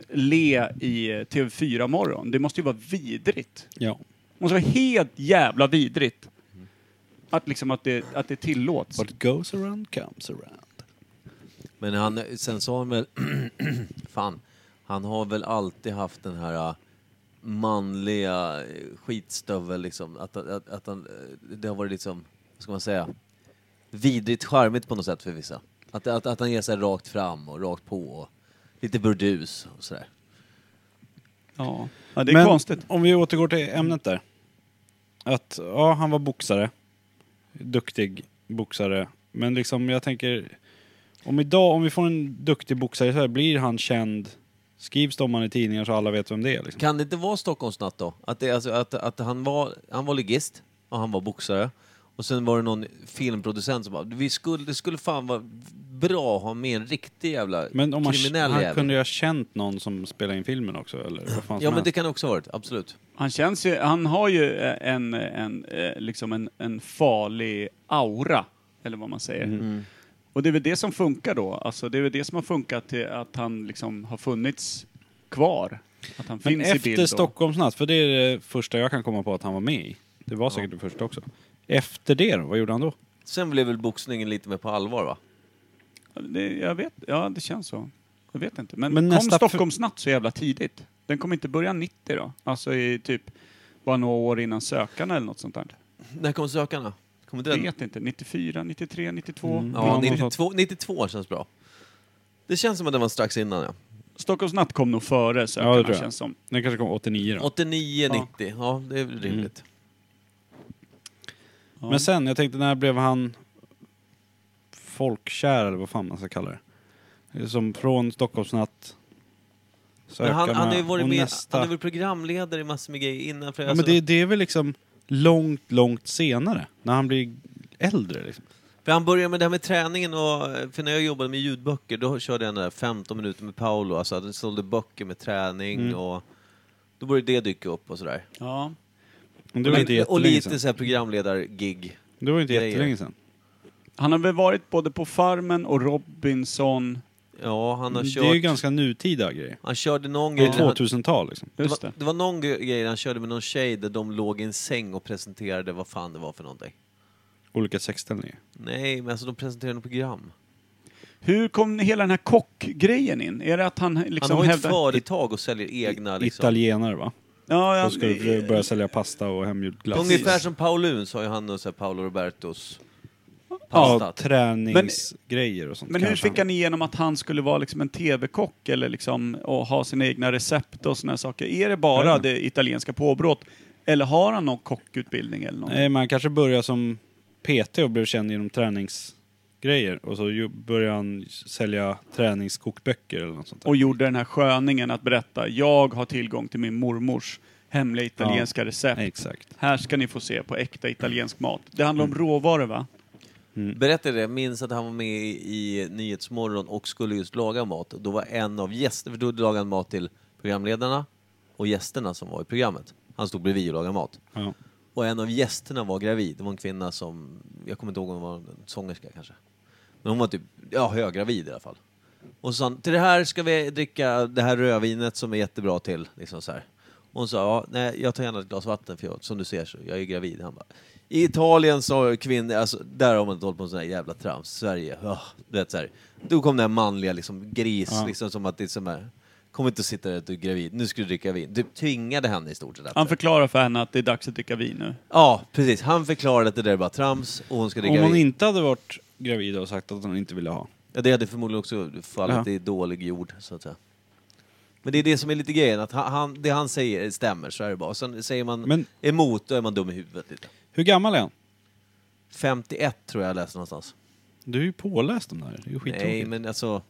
Speaker 3: le i eh, TV4-morgon. Det måste ju vara vidrigt.
Speaker 2: Ja.
Speaker 3: Det måste vara helt jävla vidrigt. Att liksom att det, att det tillåts.
Speaker 2: What goes around comes around.
Speaker 1: Men han, sen så har han väl, fan, han har väl alltid haft den här äh, manliga äh, skitstövel liksom. Att, att, att han, äh, det har varit liksom, vad ska man säga, vidrigt charmigt på något sätt för vissa. Att, att, att han ger sig rakt fram och rakt på och lite burdus och sådär.
Speaker 3: Ja. ja, det är
Speaker 2: men
Speaker 3: konstigt.
Speaker 2: om vi återgår till ämnet där. Att, ja, han var boxare. Duktig boxare. Men liksom, jag tänker... Om idag, om vi får en duktig boxare så här, blir han känd? Skrivs det om han i tidningar så alla vet vem det är? Liksom?
Speaker 1: Kan det inte vara Stockholmsnatt då? Att, det, alltså, att, att han, var, han var ligist och han var boxare. Och sen var det någon filmproducent som bara, vi skulle, det skulle fan vara bra att ha med en riktig jävla
Speaker 2: Men om han,
Speaker 1: kriminell
Speaker 2: han
Speaker 1: jävel.
Speaker 2: kunde ju ha känt någon som spelade in filmen också, eller vad fan som
Speaker 1: Ja men
Speaker 2: helst.
Speaker 1: det kan också ha varit, absolut.
Speaker 3: Han känns ju, han har ju eh, en, en, eh, liksom en, en farlig aura eller vad man säger.
Speaker 2: Mm.
Speaker 3: Och det är väl det som funkar då. Alltså, det är väl det som har funkat till att han liksom har funnits kvar. Att han
Speaker 2: Men
Speaker 3: finns i bild.
Speaker 2: efter
Speaker 3: då.
Speaker 2: Stockholmsnatt, för det är det första jag kan komma på att han var med i. Det var säkert det första också. Efter det då, vad gjorde han då?
Speaker 1: Sen blev väl boxningen lite mer på allvar va?
Speaker 3: Det, jag vet, ja det känns så. Jag vet inte. Men,
Speaker 2: Men
Speaker 3: kom
Speaker 2: nästa-
Speaker 3: Stockholmsnatt så jävla tidigt? Den kommer inte börja 90 då? Alltså i typ bara några år innan Sökarna eller något sånt där.
Speaker 1: När kom Sökarna? Kommer
Speaker 3: Jag
Speaker 1: den?
Speaker 3: vet inte. 94, 93, 92?
Speaker 1: Ja,
Speaker 2: Ja, något
Speaker 1: 92, 92 känns bra. Det känns som att den var strax innan ja.
Speaker 3: Stockholmsnatt kom nog före Sökarna
Speaker 2: Ja, det tror jag.
Speaker 3: känns som.
Speaker 2: Den kanske kom 89 då.
Speaker 1: 89, 90. Ja, det är
Speaker 2: Mm.
Speaker 1: väl rimligt.
Speaker 3: Ja.
Speaker 2: Men sen, jag tänkte när blev han folkkär eller vad fan man ska kalla det? Som från Stockholmsnatt.
Speaker 1: Men han, han har ju
Speaker 2: Sökarna
Speaker 1: varit
Speaker 2: och
Speaker 1: med,
Speaker 2: nästa.
Speaker 1: han har varit alltså- programledare i massor med grejer innan. För
Speaker 2: Ja, men det, det är väl liksom långt, långt senare. När han blir äldre liksom.
Speaker 1: För han började med det här med träningen och, för när jag jobbade med ljudböcker då körde jag den där 15 minuter med Paolo, alltså han sålde böcker med träning
Speaker 2: Mm.
Speaker 1: och då började det dyka upp och sådär.
Speaker 3: Ja.
Speaker 2: Men det var inte
Speaker 1: Lite- och
Speaker 2: jättelänge
Speaker 1: lite
Speaker 2: sen.
Speaker 1: så här programledargig.
Speaker 2: Det var inte
Speaker 1: grejer.
Speaker 2: jättelänge sen.
Speaker 3: Han har väl varit både på Farmen och Robinson.
Speaker 1: Ja, han har
Speaker 2: Det
Speaker 1: kört...
Speaker 2: är ju ganska nutida grejer.
Speaker 1: Han körde någon
Speaker 2: Det
Speaker 1: grej...
Speaker 2: är 2000-tal liksom.
Speaker 1: det,
Speaker 3: Just
Speaker 1: var,
Speaker 3: det.
Speaker 1: det var någon gre- grej han körde med någon tjej där de låg i en säng och presenterade vad fan det var för någonting.
Speaker 2: Olika sexställningar.
Speaker 1: Nej, men alltså de presenterade något program.
Speaker 3: Hur kom hela den här kockgrejen in? Är det att han liksom
Speaker 1: han har ju ett
Speaker 3: hävdar...
Speaker 1: företag och säljer egna liksom...
Speaker 2: Italienare va?
Speaker 3: Ja, eh, ja,
Speaker 2: Då ska du börja sälja pasta och hemgjord glass.
Speaker 1: Ungefär som Paulus har ju han och så här Paolo Robertos
Speaker 2: Ja,
Speaker 1: pasta.
Speaker 2: träningsgrejer och sånt
Speaker 3: Men hur
Speaker 2: kanske.
Speaker 3: fick han igenom att han skulle vara liksom en TV-kock eller liksom och ha sina egna recept och såna här saker? Är det bara
Speaker 2: Ja.
Speaker 3: det italienska påbrott? Eller har han någon kockutbildning eller något?
Speaker 2: Nej, man kanske började som PT och blev känd genom träningsgrejer. Och så ju- började han sälja träningskokböcker eller något sånt där.
Speaker 3: Och gjorde den här sköningen att berätta, jag har tillgång till min mormors hemliga italienska recept.
Speaker 2: Exakt.
Speaker 3: Här ska ni få se på äkta italiensk mat. Det handlar
Speaker 2: Mm.
Speaker 3: om råvaror va?
Speaker 1: Berättade det, jag minns att han var med i Nyhetsmorgon och skulle just laga mat. Då var en av gästerna, för då lagade han mat till programledarna och gästerna som var i programmet. Han stod bredvid och lagade mat.
Speaker 2: Ja.
Speaker 1: Och en av gästerna var gravid. Det var en kvinna som, jag kommer inte ihåg om hon var en sångerska kanske. Men hon var typ, ja höggravid i alla fall. Och så sa han, till det här ska vi dricka det här rödvinet som är jättebra till. Liksom så här. Och hon sa, ja, nej, jag tar gärna ett glas vatten för jag, som du ser så, jag är gravid. Han bara, I Italien så har kvinnor, alltså där har man inte hållit på med sån här jävla trams. Sverige, oh, du vet så här. Då kom den här manliga liksom gris, liksom som att det är som här, kom inte och sitta där att du är gravid, nu ska du dricka vin. Du tvingade henne i stort sett. att-
Speaker 3: Han förklarar för henne att det är dags att dricka vin nu.
Speaker 1: Ja, precis. Han förklarade att det där är bara trams och hon ska
Speaker 2: Om
Speaker 1: dricka
Speaker 2: hon
Speaker 1: vin.
Speaker 2: inte hade varit gravid och sagt att hon inte ville ha.
Speaker 1: Ja, det hade förmodligen också fallit
Speaker 2: Ja.
Speaker 1: i dålig jord, så att säga. Men det är det som är lite grejen, att han- han, det han säger stämmer, så är det bara. Sen säger man
Speaker 2: Men-
Speaker 1: emot, då är man dum i huvudet lite.
Speaker 2: Hur gammal är han?
Speaker 1: 51 tror jag jag läste någonstans.
Speaker 2: Du är ju påläst om det här. Det är ju skittråkigt.
Speaker 1: Nej, men alltså...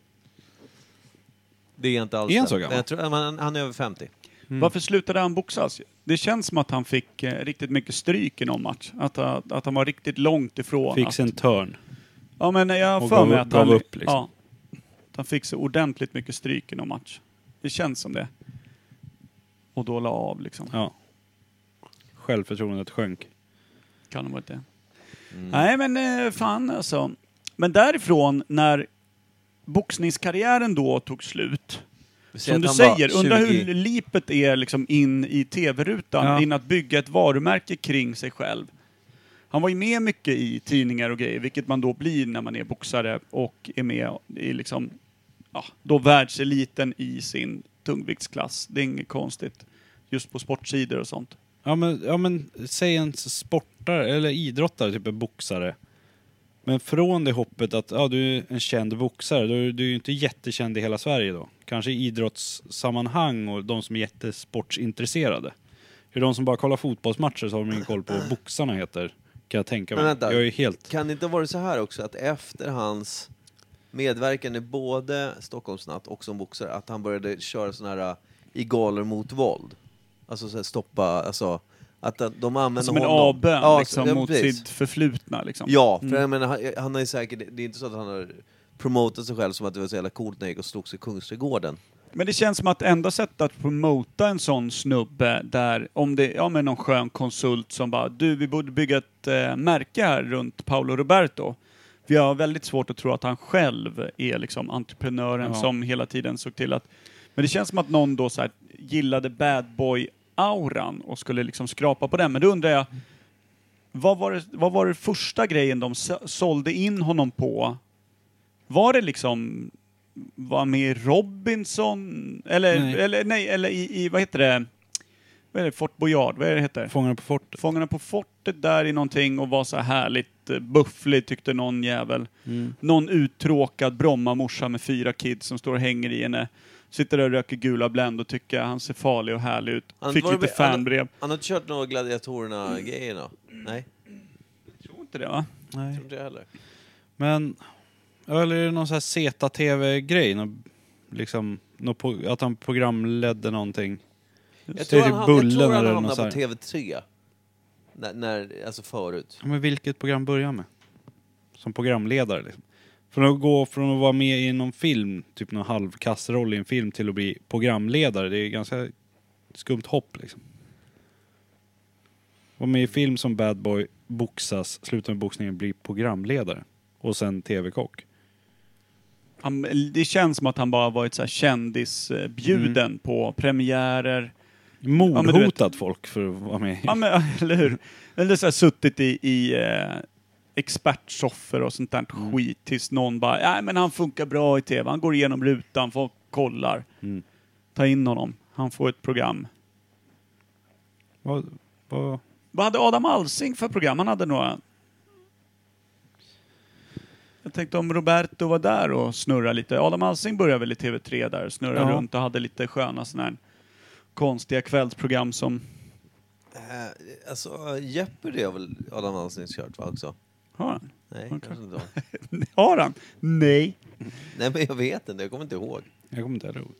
Speaker 1: Det är inte alls
Speaker 2: Är han
Speaker 1: det.
Speaker 2: så gammal?
Speaker 1: Men Jag tror, han, han är över 50.
Speaker 2: Mm.
Speaker 3: Varför slutade han boxas? Det känns som att han fick eh, riktigt mycket stryk i någon match. Att, att, att han var riktigt långt ifrån.
Speaker 2: Fick
Speaker 3: att,
Speaker 2: sig en törn.
Speaker 3: Ja, men jag har
Speaker 2: Och
Speaker 3: för
Speaker 2: gav
Speaker 3: mig
Speaker 2: upp-
Speaker 3: att han...
Speaker 2: gav upp, liksom.
Speaker 3: ja, att han fick så ordentligt mycket stryk i någon match. Det känns som det. Och då la av liksom.
Speaker 2: Ja. Självförtroendet sjönk.
Speaker 3: Kan ha varit det.
Speaker 1: Mm.
Speaker 3: Nej men eh, fan alltså. Men därifrån när boxningskarriären då tog slut.
Speaker 1: Vi säger
Speaker 3: Som du
Speaker 1: att han var
Speaker 3: säger, undra
Speaker 1: 20.
Speaker 3: hur lipet är liksom in i tv-rutan,
Speaker 2: Ja.
Speaker 3: in att bygga ett varumärke kring sig själv. Han var ju med mycket i tidningar och grejer, vilket man då blir när man är boxare och är med i liksom, ja, då världseliten i sin tungviktsklass. Det är inget konstigt. Just på sportsidor och sånt.
Speaker 2: Ja men, ja men säg en sportare eller idrottare, typ en boxare. Men från det hoppet att ja, du är en känd boxare, då är du är ju inte jättekänd i hela Sverige då. Kanske i idrottssammanhang och de som är jättesportsintresserade. För de som bara kollar fotbollsmatcher så har de ingen koll på vad boxarna heter, kan jag tänka mig.
Speaker 1: Men vänta.
Speaker 2: Jag är helt...
Speaker 1: Kan det inte ha varit så här också att efter hans medverkan i både Stockholmsnatt och som boxare att han började köra sån här äh, i galor mot våld? Alltså så här, stoppa, alltså att att de använder
Speaker 3: Alltså, Som en
Speaker 1: honom.
Speaker 3: avbön
Speaker 1: Ja,
Speaker 3: liksom,
Speaker 1: så- ja,
Speaker 3: mot
Speaker 1: precis.
Speaker 3: sitt förflutna. Liksom.
Speaker 1: Ja,
Speaker 2: Mm.
Speaker 1: för jag menar, han, han har ju säkert, det är inte så att han har promotat sig själv som att det var så jävla coolt när jag gick och slogs i Kungsträdgården.
Speaker 3: Men det känns som att enda sättet att promota en sån snubbe där, om det ja, men någon skön konsult som bara du, vi borde bygga ett eh, märke här runt Paolo Roberto. För jag har väldigt svårt att tro att han själv är liksom entreprenören
Speaker 2: Ja.
Speaker 3: som hela tiden såg till att... Men det känns som att någon då så här gillade bad boy-auran och skulle liksom skrapa på den. Men då undrar jag, vad var det, vad var det första grejen de så- sålde in honom på? Var det liksom var med i Robinson? Eller
Speaker 2: Nej.
Speaker 3: nej, eller, nej, eller i, i, vad heter det? Vad är det? Fort Boyard? Vad är det heter?
Speaker 2: Fångarna på fortet.
Speaker 3: Fångarna på fortet där i någonting och var så här härligt eh, bufflig tyckte någon jävel.
Speaker 1: Mm.
Speaker 3: Någon uttråkad Brommamorsa med fyra kids som står och hänger i henne. Sitter där och röker gula Blend och tycker han ser farlig och härlig ut.
Speaker 1: Han
Speaker 3: Fick
Speaker 1: var
Speaker 3: lite
Speaker 1: väl- han-
Speaker 3: fanbrev.
Speaker 1: Han har inte kört några Gladiatorerna-grejer då? Nej,
Speaker 3: Jag tror inte det va?
Speaker 2: Nej.
Speaker 1: tror inte jag heller.
Speaker 2: Men, ja, eller är det någon sån här Zeta-TV-grej? Någon, liksom, någon po- att han programledde någonting.
Speaker 1: Jag
Speaker 2: Det
Speaker 1: tror
Speaker 2: är
Speaker 1: han,
Speaker 2: typ
Speaker 1: ham- jag
Speaker 2: Bullen
Speaker 1: tror han
Speaker 2: eller något
Speaker 1: hamnade
Speaker 2: sånt
Speaker 1: på TV3. När, när, alltså förut.
Speaker 2: Ja, men vilket program börjar han med? Som programledare liksom. Från att gå från att vara med i någon film, typ någon halvkastroll i en film, till att bli programledare. Det är ganska skumt hopp liksom. Var med i film som Bad Boy, boxas, slutar med boxningen, blir programledare. Och sen TV-kock.
Speaker 3: Han, det känns som att han bara varit så här kändisbjuden
Speaker 1: Mm.
Speaker 3: på premiärer. men du
Speaker 2: Mordhotat
Speaker 3: vet-
Speaker 2: folk för att vara med.
Speaker 3: Ja, men, eller hur? Eller så här, suttit i, i eh, expertsoffer och sånt där skit tills någon bara, nej men han funkar bra i tv, han går igenom rutan, folk kollar.
Speaker 2: Mm.
Speaker 3: Ta in honom, han får ett program.
Speaker 2: Vad, vad,
Speaker 3: Vad hade Adam Alsing för program? Han hade några. Jag tänkte om Roberto var där och snurrade lite. Adam Alsing började väl i TV3 där och snurrade
Speaker 2: Ja.
Speaker 3: runt och hade lite sköna sådana här konstiga kvällsprogram som...
Speaker 1: Eh, alltså Jeopardy har väl Adam Alsing kört va också?
Speaker 3: Har han?
Speaker 1: Nej,
Speaker 3: Okej.
Speaker 1: kanske inte. var.
Speaker 3: Har han? Nej.
Speaker 1: Nej men jag vet inte, jag kommer inte ihåg.
Speaker 2: jag kommer inte heller ihåg.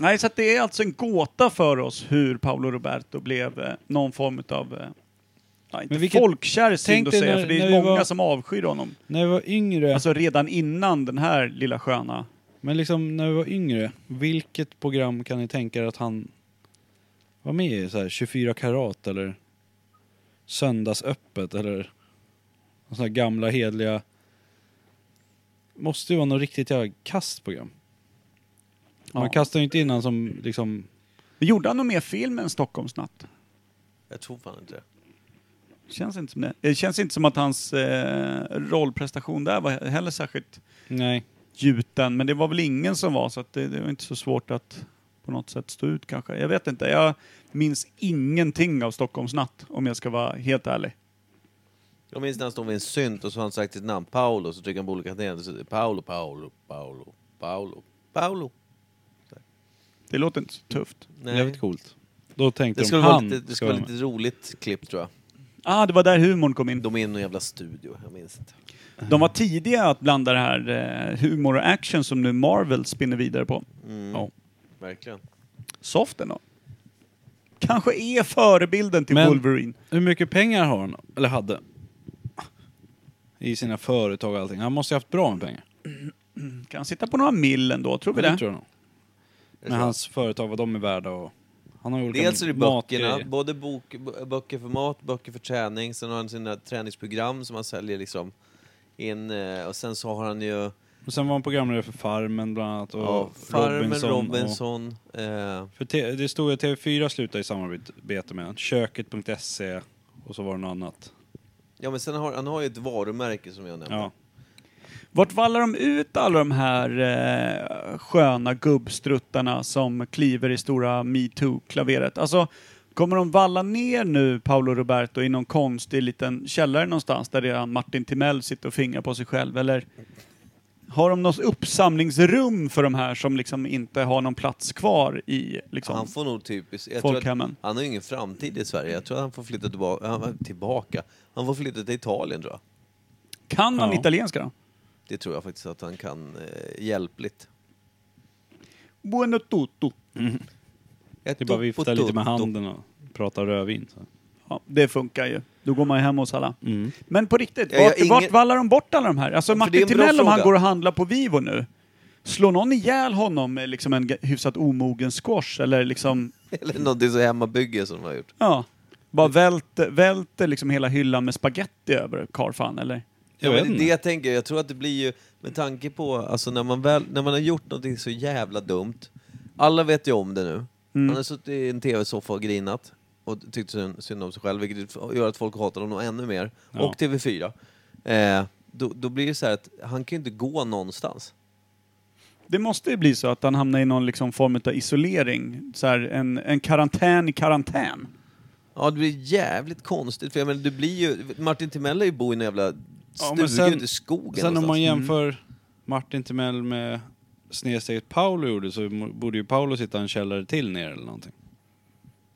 Speaker 3: Nej, så att det är alltså en gåta för oss hur Paolo Roberto blev eh, någon form av... Eh, ja, inte
Speaker 2: Men vilket-
Speaker 3: folkkär synd
Speaker 2: Tänk
Speaker 3: att
Speaker 2: dig
Speaker 3: säga,
Speaker 2: när-
Speaker 3: för det
Speaker 2: när
Speaker 3: är
Speaker 2: vi
Speaker 3: många
Speaker 2: var-
Speaker 3: som avskyr honom.
Speaker 2: När jag var yngre,
Speaker 3: Alltså redan innan den här lilla sköna...
Speaker 2: men liksom när jag var yngre, vilket program kan ni tänka er att han var med i? Så här, 24 karat eller Söndagsöppet eller någon sån här gamla hedliga... Måste ju vara något riktigt jävla kastprogram. Man
Speaker 3: Ja.
Speaker 2: kastar ju inte in han som liksom...
Speaker 3: Gjorde han någon mer film än Stockholmsnatt?
Speaker 1: Jag tror fan inte det.
Speaker 3: Känns inte som det. det känns inte som att hans eh, rollprestation där var he- heller särskilt
Speaker 2: Nej.
Speaker 3: gjuten. Men det var väl ingen som var, så att det, det var inte så svårt att på något sätt stå ut kanske. Jag vet inte. Jag minns ingenting av Stockholmsnatt, om jag ska vara helt ärlig.
Speaker 1: Jag minns när han stod vid en synt och så har han sagt sitt namn, Paolo, så trycker han på olika knappar. och så säger Paolo, Paolo, Paolo, Paolo, Paolo.
Speaker 3: Det låter inte så tufft.
Speaker 1: Nej.
Speaker 2: Jävligt coolt. Då tänkte
Speaker 1: Det skulle
Speaker 2: de,
Speaker 1: vara
Speaker 2: han
Speaker 1: lite, det
Speaker 2: ska
Speaker 1: skulle
Speaker 2: vara
Speaker 1: vara
Speaker 2: med.
Speaker 1: lite roligt klipp tror jag.
Speaker 3: Ah, det var där humorn kom in.
Speaker 1: De är i någon jävla studio, jag minns inte.
Speaker 3: De var tidiga att blanda det här eh, humor och action som nu Marvel spinner vidare på.
Speaker 2: Ja.
Speaker 1: Verkligen.
Speaker 3: Soften då? Kanske är förebilden till
Speaker 2: Men-
Speaker 3: Wolverine.
Speaker 2: Hur mycket pengar har han, eller hade? I sina företag och allting. Han måste ju haft bra med pengar.
Speaker 3: Kan han sitta på några mill ändå, tror vi
Speaker 2: Ja,
Speaker 3: det?
Speaker 2: tror jag nog.
Speaker 1: Jag
Speaker 2: Med
Speaker 1: tror-
Speaker 2: hans företag, vad de är värda och... Han har ju olika
Speaker 1: Dels är det böckerna,
Speaker 2: matgrejer.
Speaker 1: både bok, bö- böcker för mat, böcker för träning, sen har han sina träningsprogram som han säljer liksom in eh, och sen så har han ju
Speaker 2: Och sen var han programledare för Farmen bland annat och
Speaker 1: ja, Farmen,
Speaker 2: Robinson. Och,
Speaker 1: Robinson, eh,
Speaker 2: för te, det stod ju att TV4 slutade i samarbete med honom. Köket.se och så var det något annat.
Speaker 1: ja men sen har han har ju ett varumärke som jag nämnde.
Speaker 2: Ja.
Speaker 3: Vart vallar de ut alla de här eh, sköna gubbstruttarna som kliver i stora metoo-klaveret? Alltså, kommer de valla ner nu Paolo Roberto i någon konstig liten källare någonstans där redan Martin Timell sitter och fingrar på sig själv? Eller har de något uppsamlingsrum för de här som liksom inte har någon plats kvar i liksom,
Speaker 1: Han får nog typiskt... jag tror att-
Speaker 3: folkhemmen?
Speaker 1: Han har ju ingen framtid i Sverige. Jag tror att han får flytta tillbaka. Han, tillbaka. han får flytta till Italien tror jag.
Speaker 3: Kan han
Speaker 2: Ja.
Speaker 3: italienska då?
Speaker 1: Det tror jag faktiskt att han kan eh, hjälpligt.
Speaker 3: Buono tutto.
Speaker 1: Ett
Speaker 2: Det är bara
Speaker 1: upp
Speaker 2: att
Speaker 1: och
Speaker 2: vifta lite
Speaker 1: tutt
Speaker 2: med
Speaker 1: och-
Speaker 2: handen och prata rödvin. Så.
Speaker 3: Ja, det funkar ju. Då går man ju hem hos alla.
Speaker 2: Mm.
Speaker 3: Men på riktigt,
Speaker 1: Ja, jag
Speaker 3: vart,
Speaker 1: har
Speaker 3: vart
Speaker 1: ingen-
Speaker 3: vallar de bort alla de här? Alltså
Speaker 1: För det är
Speaker 3: Martin
Speaker 1: en bra
Speaker 3: Timell om han
Speaker 1: fråga.
Speaker 3: går och handlar på Vivo nu, slår någon ihjäl honom med liksom en g- hyfsat omogen squash eller liksom,
Speaker 1: Eller någonting så hemmabygge som de har gjort.
Speaker 3: ja, bara välter, välter liksom hela hyllan med spaghetti över karlfan eller?
Speaker 2: Jag
Speaker 1: men
Speaker 2: vet
Speaker 1: det är
Speaker 2: inte.
Speaker 1: det jag tänker. Jag tror att det blir ju, med tanke på, alltså när man, väl, när man har gjort någonting så jävla dumt. Alla vet ju om det
Speaker 2: Mm.
Speaker 1: nu. Han har suttit i en tv-soffa och grinat. Och tyckt synd- synd om sig själv, vilket gör att folk hatar honom ännu mer.
Speaker 2: Ja.
Speaker 1: Och TV4. Eh, då, då blir det så här att han kan ju inte gå någonstans.
Speaker 3: Det måste ju bli så att han hamnar i någon liksom form av isolering. Så här, en, en karantän i karantän.
Speaker 1: Ja, det blir jävligt konstigt. För jag menar, det blir ju, Martin Timell är ju bo i en jävla stuga
Speaker 2: men sen-
Speaker 1: ute i skogen
Speaker 2: Sen om man
Speaker 1: någonstans. Mm.
Speaker 2: jämför Martin Timell med snedsteget Paolo gjorde så mo- borde ju Paolo sitta en källare till ner eller någonting.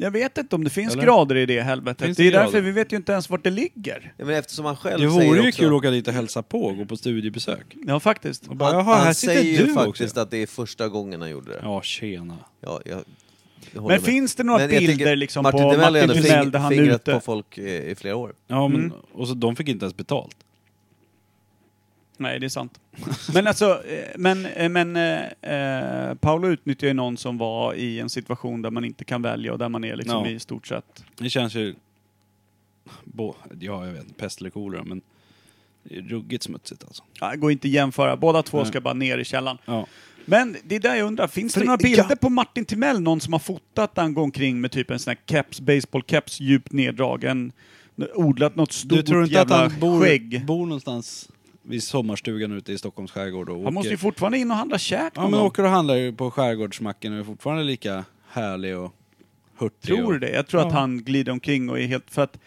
Speaker 3: Jag vet inte om det finns
Speaker 2: Eller?
Speaker 3: grader i det helvetet.
Speaker 2: Finns
Speaker 3: det
Speaker 2: det
Speaker 3: är därför
Speaker 2: grader?
Speaker 3: vi vet ju inte ens vart det ligger.
Speaker 1: Ja, men eftersom han själv
Speaker 2: Det
Speaker 1: säger
Speaker 2: vore ju
Speaker 1: också,
Speaker 2: kul att åka dit och hälsa på, gå på studiebesök.
Speaker 3: Ja, faktiskt.
Speaker 2: Och bara,
Speaker 1: Han,
Speaker 2: jaha, här
Speaker 1: han
Speaker 2: sitter
Speaker 1: säger ju
Speaker 2: du
Speaker 1: faktiskt
Speaker 2: också.
Speaker 1: att det är första gången han gjorde det. Ja.
Speaker 2: Ja, tjena.
Speaker 1: jag, jag håller
Speaker 3: Men
Speaker 1: med.
Speaker 3: finns det några
Speaker 1: Men jag
Speaker 3: bilder
Speaker 1: tänker,
Speaker 3: liksom
Speaker 1: Martin
Speaker 3: på
Speaker 1: Timell har ju
Speaker 3: Martin
Speaker 1: ändå
Speaker 3: Timell
Speaker 1: fing-
Speaker 3: där han är
Speaker 1: fingrat
Speaker 3: ute?
Speaker 1: på Mm. folk i, i flera år.
Speaker 2: Ja, men, och så de fick inte ens betalt.
Speaker 3: Nej, det är sant. Men alltså, eh, men, eh, men eh, eh, Paolo utnyttjar ju någon som var i en situation där man inte kan välja och där man är liksom
Speaker 2: Ja.
Speaker 3: i stort sett...
Speaker 2: Det känns ju... Bo, ja, jag vet inte, pest eller kolera, men det är ruggigt smutsigt alltså.
Speaker 3: Ja, det går inte att jämföra, båda två
Speaker 2: Nej.
Speaker 3: ska bara ner i källan.
Speaker 2: Ja.
Speaker 3: Men det är där jag undrar, finns det
Speaker 2: För-
Speaker 3: några
Speaker 2: ja.
Speaker 3: bilder på Martin Timell, någon som har fotat där han går omkring med typ en sån här keps, baseballkeps, djupt neddragen, odlat något stort
Speaker 2: Du tror inte att
Speaker 3: jävla
Speaker 2: han bor,
Speaker 3: skägg?
Speaker 2: bor någonstans vid sommarstugan ute i Stockholms skärgård och åker?
Speaker 3: Han måste ju fortfarande in och handla käk
Speaker 2: Ja
Speaker 3: någon
Speaker 2: men
Speaker 3: gång.
Speaker 2: åker och handlar ju på skärgårdsmacken och är fortfarande lika härlig och hurtig.
Speaker 3: Tror du
Speaker 2: och...
Speaker 3: det? Jag tror
Speaker 2: Ja.
Speaker 3: att han glider omkring och är helt... För att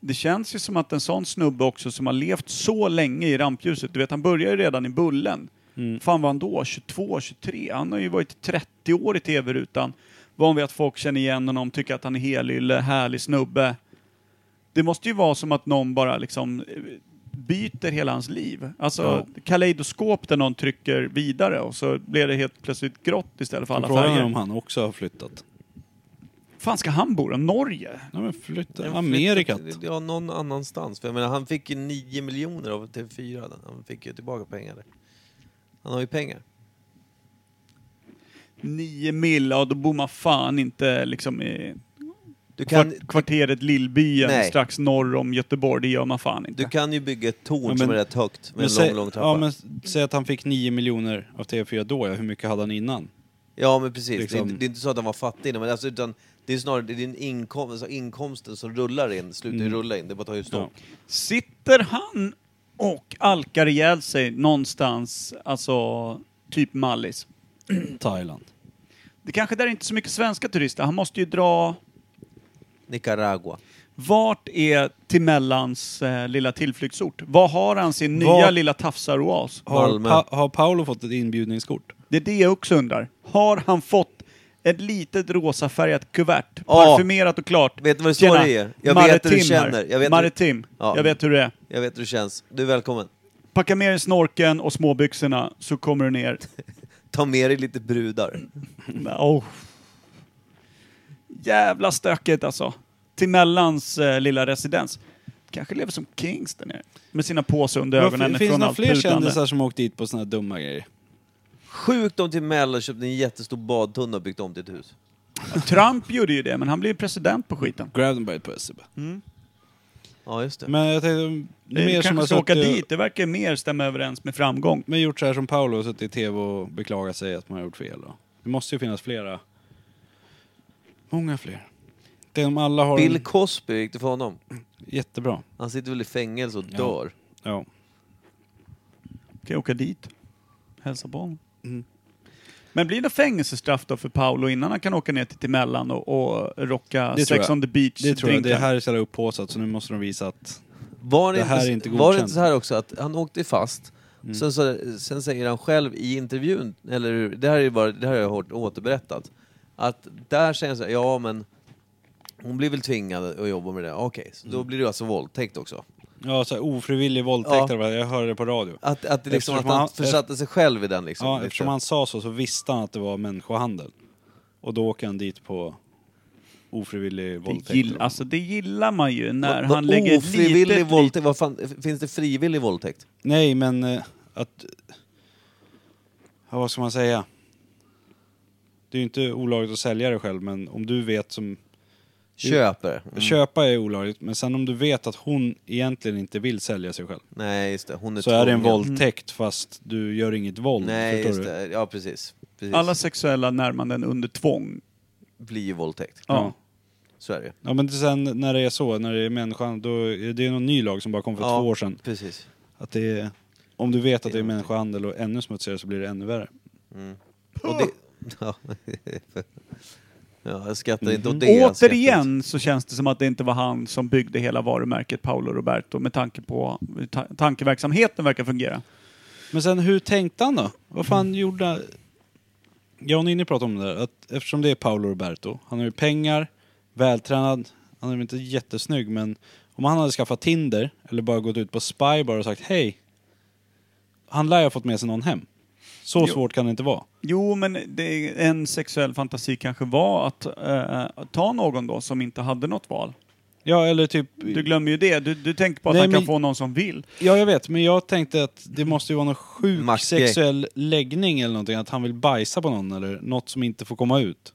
Speaker 3: det känns ju som att en sån snubbe också som har levt så länge i rampljuset, du vet han började ju redan i Bullen.
Speaker 2: Mm.
Speaker 3: Fan var han då? 22, 23? Han har ju varit 30 år i TV-rutan. Van vid att folk känner igen honom, tycker att han är helylle, härlig snubbe. Det måste ju vara som att någon bara liksom eh, byter hela hans liv. Alltså kaleidoskop där någon trycker vidare och så blir det helt plötsligt grått istället för alla
Speaker 2: Frågan är
Speaker 3: färger.
Speaker 2: om han också har flyttat.
Speaker 3: Fan ska han bo då? Norge?
Speaker 2: Nej men flytta,
Speaker 1: Men
Speaker 2: Amerikat.
Speaker 1: flyttat- Ja, någon annanstans. För jag menar, han fick ju 9 miljoner av TV4. Han fick ju tillbaka pengar där. Han har ju pengar.
Speaker 3: Nio mil, ja då bor man fan inte liksom i
Speaker 1: Du kan,
Speaker 3: kvart, kvarteret Lillbyen
Speaker 1: Nej.
Speaker 3: strax norr om Göteborg. Det gör man fan inte.
Speaker 1: du kan ju bygga ett torn
Speaker 2: Ja, men-
Speaker 1: som är rätt högt med en
Speaker 2: säg,
Speaker 1: lång, lång trappa.
Speaker 2: ja, men säg att han fick 9 miljoner av TV4 då, ja. hur mycket hade han innan?
Speaker 1: Ja men precis, det, är
Speaker 2: Liksom-
Speaker 1: inte, det är inte så att han var fattig innan, men alltså, utan det är snarare det är din inkomst, alltså inkomsten som rullar in, slutar
Speaker 3: Mm.
Speaker 1: ju rulla in, det bara tar ju stopp.
Speaker 3: Sitter han och alkar ihjäl sig någonstans, alltså typ Mallis?
Speaker 2: Thailand.
Speaker 3: Det kanske där är inte så mycket svenska turister. Han måste ju dra...
Speaker 1: Nicaragua.
Speaker 3: Vart är Timellans eh, lilla tillflyktsort? Vad har han sin nya
Speaker 2: Var-
Speaker 3: lilla tafsaroas?
Speaker 2: Har,
Speaker 1: Malmö.
Speaker 2: pa, har Paolo fått ett inbjudningskort?
Speaker 3: Det är det jag också undrar. Har han fått ett litet rosafärgat kuvert,
Speaker 1: Ja.
Speaker 3: parfymerat och klart?
Speaker 1: Vet du vad det
Speaker 3: Tjena,
Speaker 1: står i? Jag
Speaker 3: Marre
Speaker 1: vet hur du
Speaker 3: Tim här.
Speaker 1: känner. Jag vet
Speaker 3: Marre
Speaker 1: hur-
Speaker 3: Tim.
Speaker 1: Ja.
Speaker 3: Jag vet hur det är.
Speaker 1: Jag vet hur det känns. Du är välkommen.
Speaker 3: Packa med dig snorken och småbyxorna så kommer du ner.
Speaker 1: Ta med dig lite brudar.
Speaker 3: oh. Jävla stökigt alltså. Till Mellans eh, lilla residens. Kanske lever som Kings där nere. Med sina påsar under
Speaker 2: Varför-
Speaker 3: ögonen
Speaker 2: Finns det
Speaker 3: från
Speaker 2: några
Speaker 3: allt
Speaker 2: fler
Speaker 3: putlande.
Speaker 2: kändisar som åkt dit på såna här dumma grejer?
Speaker 1: Sjukt om till Mellan köpte en jättestor badtunna och byggt om till ett hus.
Speaker 3: Trump gjorde ju det, men han blev ju president på skiten.
Speaker 2: Grab them by the pussy. bara.
Speaker 1: Ja, just det.
Speaker 2: Men jag tänkte,
Speaker 3: Mm. Det
Speaker 2: mer som
Speaker 3: kanske
Speaker 2: har
Speaker 3: ska åka
Speaker 2: suttit och-
Speaker 3: dit. Det verkar mer stämma överens med framgång.
Speaker 2: Men gjort så här som Paolo och suttit i tv och beklagat sig att man har gjort fel då. Det måste ju finnas flera. Många fler. Det är om alla har
Speaker 1: Bill
Speaker 2: en...
Speaker 1: Cosby, hur gick det för honom?
Speaker 2: Jättebra.
Speaker 1: Han sitter väl i fängelse och dör.
Speaker 2: Ja.
Speaker 3: Kan jag åka dit? Hälsa på honom.
Speaker 2: Mm.
Speaker 3: Men blir det fängelsestraff då för Paolo innan han kan åka ner till Timellan och, och rocka
Speaker 2: Det tror
Speaker 3: Sex
Speaker 2: jag.
Speaker 3: on the beach
Speaker 2: Det tror jag. Det
Speaker 3: drinkar?
Speaker 2: här är så jävla upphaussat så nu måste de visa att...
Speaker 1: Var det,
Speaker 2: Det här
Speaker 1: inte,
Speaker 2: är inte
Speaker 1: var det
Speaker 2: godkänt. Mm.
Speaker 1: inte så här också att han åkte fast, sen, så, sen säger han själv i intervjun, eller hur? det här är ju bara, det här har jag hört återberättat, att där säger han så här, ja men hon blir väl tvingad att jobba med det, okej, så
Speaker 2: Mm.
Speaker 1: då blir det alltså våldtäkt också.
Speaker 2: Ja, så här, ofrivillig våldtäkt.
Speaker 1: Ja.
Speaker 2: Ja. Jag hörde det på radio.
Speaker 1: Att, att, det liksom,
Speaker 2: Eftersom
Speaker 1: att han,
Speaker 2: han-
Speaker 1: försatte sig själv i den liksom.
Speaker 2: Ja,
Speaker 1: lite.
Speaker 2: eftersom han sa så så visste han att det var människohandel. Och då åker han dit på ofrivillig
Speaker 3: det
Speaker 2: våldtäkt.
Speaker 3: gill, alltså det gillar man ju när
Speaker 1: Vad-
Speaker 3: han lägger ett
Speaker 1: ofrivillig
Speaker 3: litet...
Speaker 1: våldtäkt, vad fan, f- finns det frivillig våldtäkt?
Speaker 2: Nej, men eh, att... Ja, vad ska man säga? Det är ju inte olagligt att sälja det själv, men om du vet som
Speaker 1: Köper. Mm.
Speaker 2: Köpa är olagligt, men sen om du vet att hon egentligen inte vill sälja sig själv.
Speaker 1: Nej, just det. Hon är
Speaker 2: Så är det en
Speaker 1: tvungen.
Speaker 2: våldtäkt fast du gör inget våld.
Speaker 1: Nej,
Speaker 2: förstår
Speaker 1: just
Speaker 2: du?
Speaker 1: det. Ja, precis. precis.
Speaker 3: Alla sexuella närmanden under tvång.
Speaker 1: blir ju våldtäkt.
Speaker 3: Ja.
Speaker 1: Så är det ju.
Speaker 2: Ja men sen när det är så, när det är människan, då är det är någon ny lag som bara kom för
Speaker 1: Ja,
Speaker 2: två år sedan.
Speaker 1: Precis.
Speaker 2: Att det är, om du vet att det är människohandel och ännu smutsigare så blir det ännu värre.
Speaker 1: Och det... Ja. ja, jag skrattar inte åt det. jag
Speaker 2: alltså
Speaker 1: skrattar
Speaker 3: Återigen så känns det som att det inte var han som byggde hela varumärket Paolo Roberto med tanke på hur ta tankeverksamheten verkar fungera.
Speaker 2: Men sen hur tänkte han då? Vad fan gjorde... Jag och Ninni pratade om det där, att eftersom det är Paolo Roberto, han har ju pengar, vältränad, han är väl inte jättesnygg men om han hade skaffat Tinder eller bara gått ut på Spy bara och sagt hej, han lär ju ha fått med sig någon hem. Så svårt kan det inte vara.
Speaker 3: Jo, men det, en sexuell fantasi kanske var att eh, ta någon då som inte hade något val.
Speaker 2: Ja eller typ...
Speaker 3: Du glömmer ju det. Du, du tänker på att
Speaker 2: Nej,
Speaker 3: han kan
Speaker 2: men-
Speaker 3: få någon som vill.
Speaker 2: Ja, jag vet, men jag tänkte att det måste ju vara någon sjuk
Speaker 1: Macke.
Speaker 2: sexuell läggning eller någonting, att han vill bajsa på någon eller något som inte får komma ut.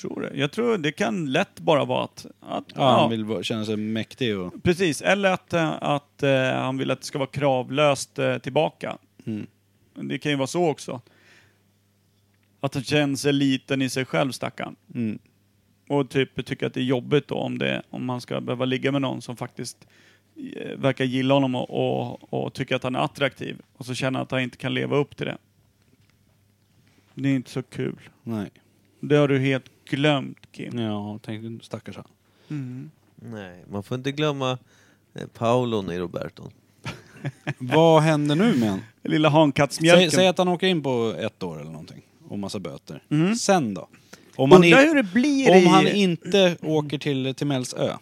Speaker 3: Tror det. Jag tror det kan lätt bara vara att... att
Speaker 2: Ja, Han vill bara känna sig mäktig och...
Speaker 3: Precis, eller att, eh, att eh, han vill att det ska vara kravlöst eh, tillbaka.
Speaker 2: Mm.
Speaker 3: Det kan ju vara så också. Att han känner sig liten i sig själv, stackarn.
Speaker 2: Mm.
Speaker 3: Och typ tycker att det är jobbigt då om, det, om man ska behöva ligga med någon som faktiskt eh, verkar gilla honom och, och, och tycker att han är attraktiv. Och så känner han att han inte kan leva upp till det. Det är inte så kul.
Speaker 2: Nej.
Speaker 3: Det har du helt glömt, Kim.
Speaker 2: Ja, tänkte stackars han.
Speaker 1: inte. Nej, man får inte glömma eh, Paulon i Roberton.
Speaker 2: Vad händer nu med han?
Speaker 3: Lilla
Speaker 2: Säg,
Speaker 3: hankattsmjölken.
Speaker 2: säg att han åker in på ett år eller någonting och massa böter. Sen då? Om han,
Speaker 3: Undrar hur
Speaker 2: i, Mm.
Speaker 3: det blir
Speaker 2: om
Speaker 3: i...
Speaker 2: han inte åker till Timells ö,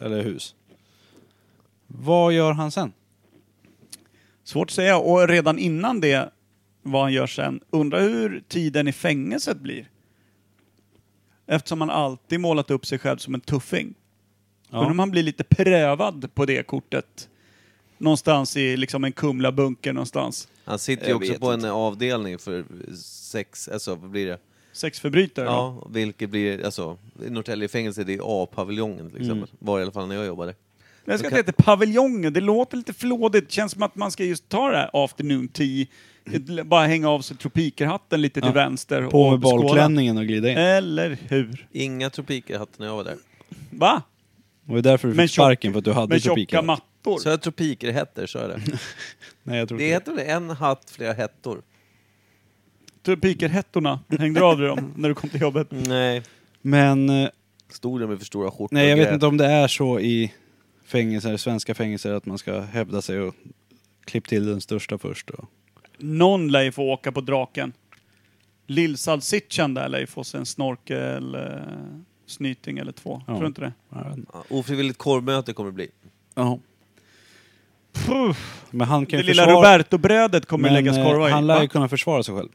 Speaker 2: eller hus, vad gör han sen?
Speaker 3: Svårt att säga. Och redan innan det, vad han gör sen, undrar hur tiden i fängelset blir. Eftersom han alltid målat upp sig själv som en tuffing. Undrar om han blir lite prövad på det kortet. Någonstans i liksom en Kumla-bunker någonstans.
Speaker 1: Han sitter ju
Speaker 2: Jag
Speaker 1: också
Speaker 2: vet
Speaker 1: på
Speaker 2: inte.
Speaker 1: en avdelning för sex, alltså vad blir det?
Speaker 3: Sexförbrytare då.
Speaker 1: Ja, vilket blir, alltså, i Norrtälje fängelse, det är A-paviljongen till
Speaker 2: Mm.
Speaker 1: exempel. Var i alla fall när jag jobbade.
Speaker 3: Men jag ska
Speaker 1: Okej.
Speaker 3: inte heta paviljongen, det låter lite flådigt. Känns som att man ska just ta det här afternoon tea, ett- bara hänga av sig tropikerhatten lite till vänster
Speaker 2: På med
Speaker 3: och skåla.
Speaker 2: balklänningen och glida in.
Speaker 3: Eller hur?
Speaker 1: Inga tropikerhattar när jag var där.
Speaker 3: Va?
Speaker 2: Det var ju därför du
Speaker 3: Men
Speaker 2: fick
Speaker 3: tjock-
Speaker 2: sparken, för att du hade
Speaker 3: Med
Speaker 2: tropiker.
Speaker 3: tjocka mattor.
Speaker 1: Så jag tropikerhetter, så är det.
Speaker 2: Nej, jag tror
Speaker 1: Det
Speaker 2: inte det.
Speaker 1: heter väl en hatt, flera hettor?
Speaker 3: Tropikerhettorna, hängde du av dig dem när du kom till jobbet?
Speaker 1: Nej.
Speaker 2: Men, eh,
Speaker 1: Stod där med för stora skjortor
Speaker 2: nej jag
Speaker 1: och
Speaker 2: vet
Speaker 1: grejer.
Speaker 2: inte om det är så i fängelser, svenska fängelser, att man ska hävda sig och klipp till den största först. Och.
Speaker 3: Någon lär ju få åka på draken. Lill-Salsichan där lär ju få sig en snorkel, eh, snyting eller två.
Speaker 2: Ja.
Speaker 3: Tror du inte det?
Speaker 1: Ja, ofrivilligt korvmöte kommer det bli.
Speaker 2: Ja. Men han kan
Speaker 3: Det
Speaker 2: ju
Speaker 3: lilla
Speaker 2: försvara...
Speaker 3: Roberto-brödet kommer ju
Speaker 2: men,
Speaker 3: läggas
Speaker 2: eh,
Speaker 3: korvar i.
Speaker 2: Han lär ju
Speaker 3: Va?
Speaker 2: kunna försvara sig själv.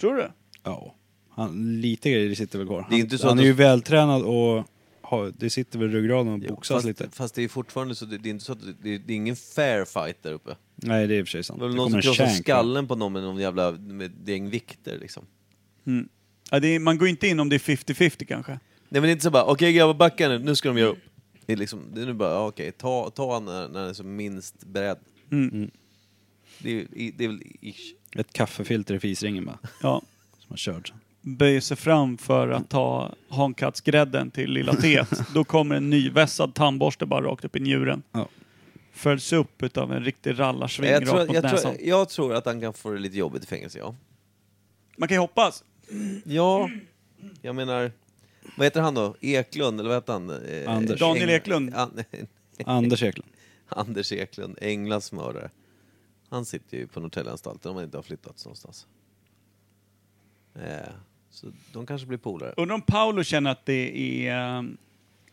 Speaker 3: Tror du?
Speaker 2: Ja. Han, lite grejer sitter väl kvar. Han,
Speaker 1: Det är inte så
Speaker 2: han
Speaker 1: att
Speaker 2: är
Speaker 1: du-
Speaker 2: ju vältränad och har, det sitter väl i ryggraden och boxas
Speaker 1: fast,
Speaker 2: lite.
Speaker 1: fast det är fortfarande så, det, det är inte så att det, det, det är ingen fair fight där uppe.
Speaker 2: Nej, det är i och för sig
Speaker 1: Det
Speaker 2: sant.
Speaker 1: var
Speaker 2: Det
Speaker 1: väl någon
Speaker 2: kommer
Speaker 1: som
Speaker 2: en
Speaker 1: krossade
Speaker 2: shank. va?
Speaker 1: skallen på någon med någon jävla med ett gäng vikter liksom.
Speaker 3: Ja, det är, man går inte in om det är 50-50 kanske.
Speaker 1: Nej men det är inte så bara, okej grabbar backa nu, nu ska de göra upp. Det är liksom, det är nu bara, ja, okej, ta, ta han när, när han är som minst beredd.
Speaker 2: Mm.
Speaker 1: Det, är, ju- i- det är väl ish.
Speaker 2: Ett kaffefilter i fisringen bara.
Speaker 3: Ja.
Speaker 2: Som har kört.
Speaker 3: Böjer sig fram för att ta hankattsgrädden till lilla teet. Då kommer en nyvässad tandborste bara rakt upp i njuren.
Speaker 2: Ja.
Speaker 3: Följs upp utav en riktig rallarsving
Speaker 1: Jag
Speaker 3: rakt
Speaker 1: tror,
Speaker 3: mot
Speaker 1: jag,
Speaker 3: näsan.
Speaker 1: tror, jag tror att han kan få det lite jobbigt i fängelse, ja.
Speaker 3: Man kan ju hoppas.
Speaker 1: Ja, jag menar, vad heter han då? Eklund, eller vad heter han? Eh,
Speaker 2: Anders.
Speaker 3: Daniel Eklund.
Speaker 1: An,
Speaker 2: Anders Eklund.
Speaker 1: Anders Eklund, Englas mördare. Han sitter ju på Norrtäljeanstalten om han inte har flyttats någonstans. Eh, så de kanske blir polare.
Speaker 3: Undrar om Paolo känner att det är um,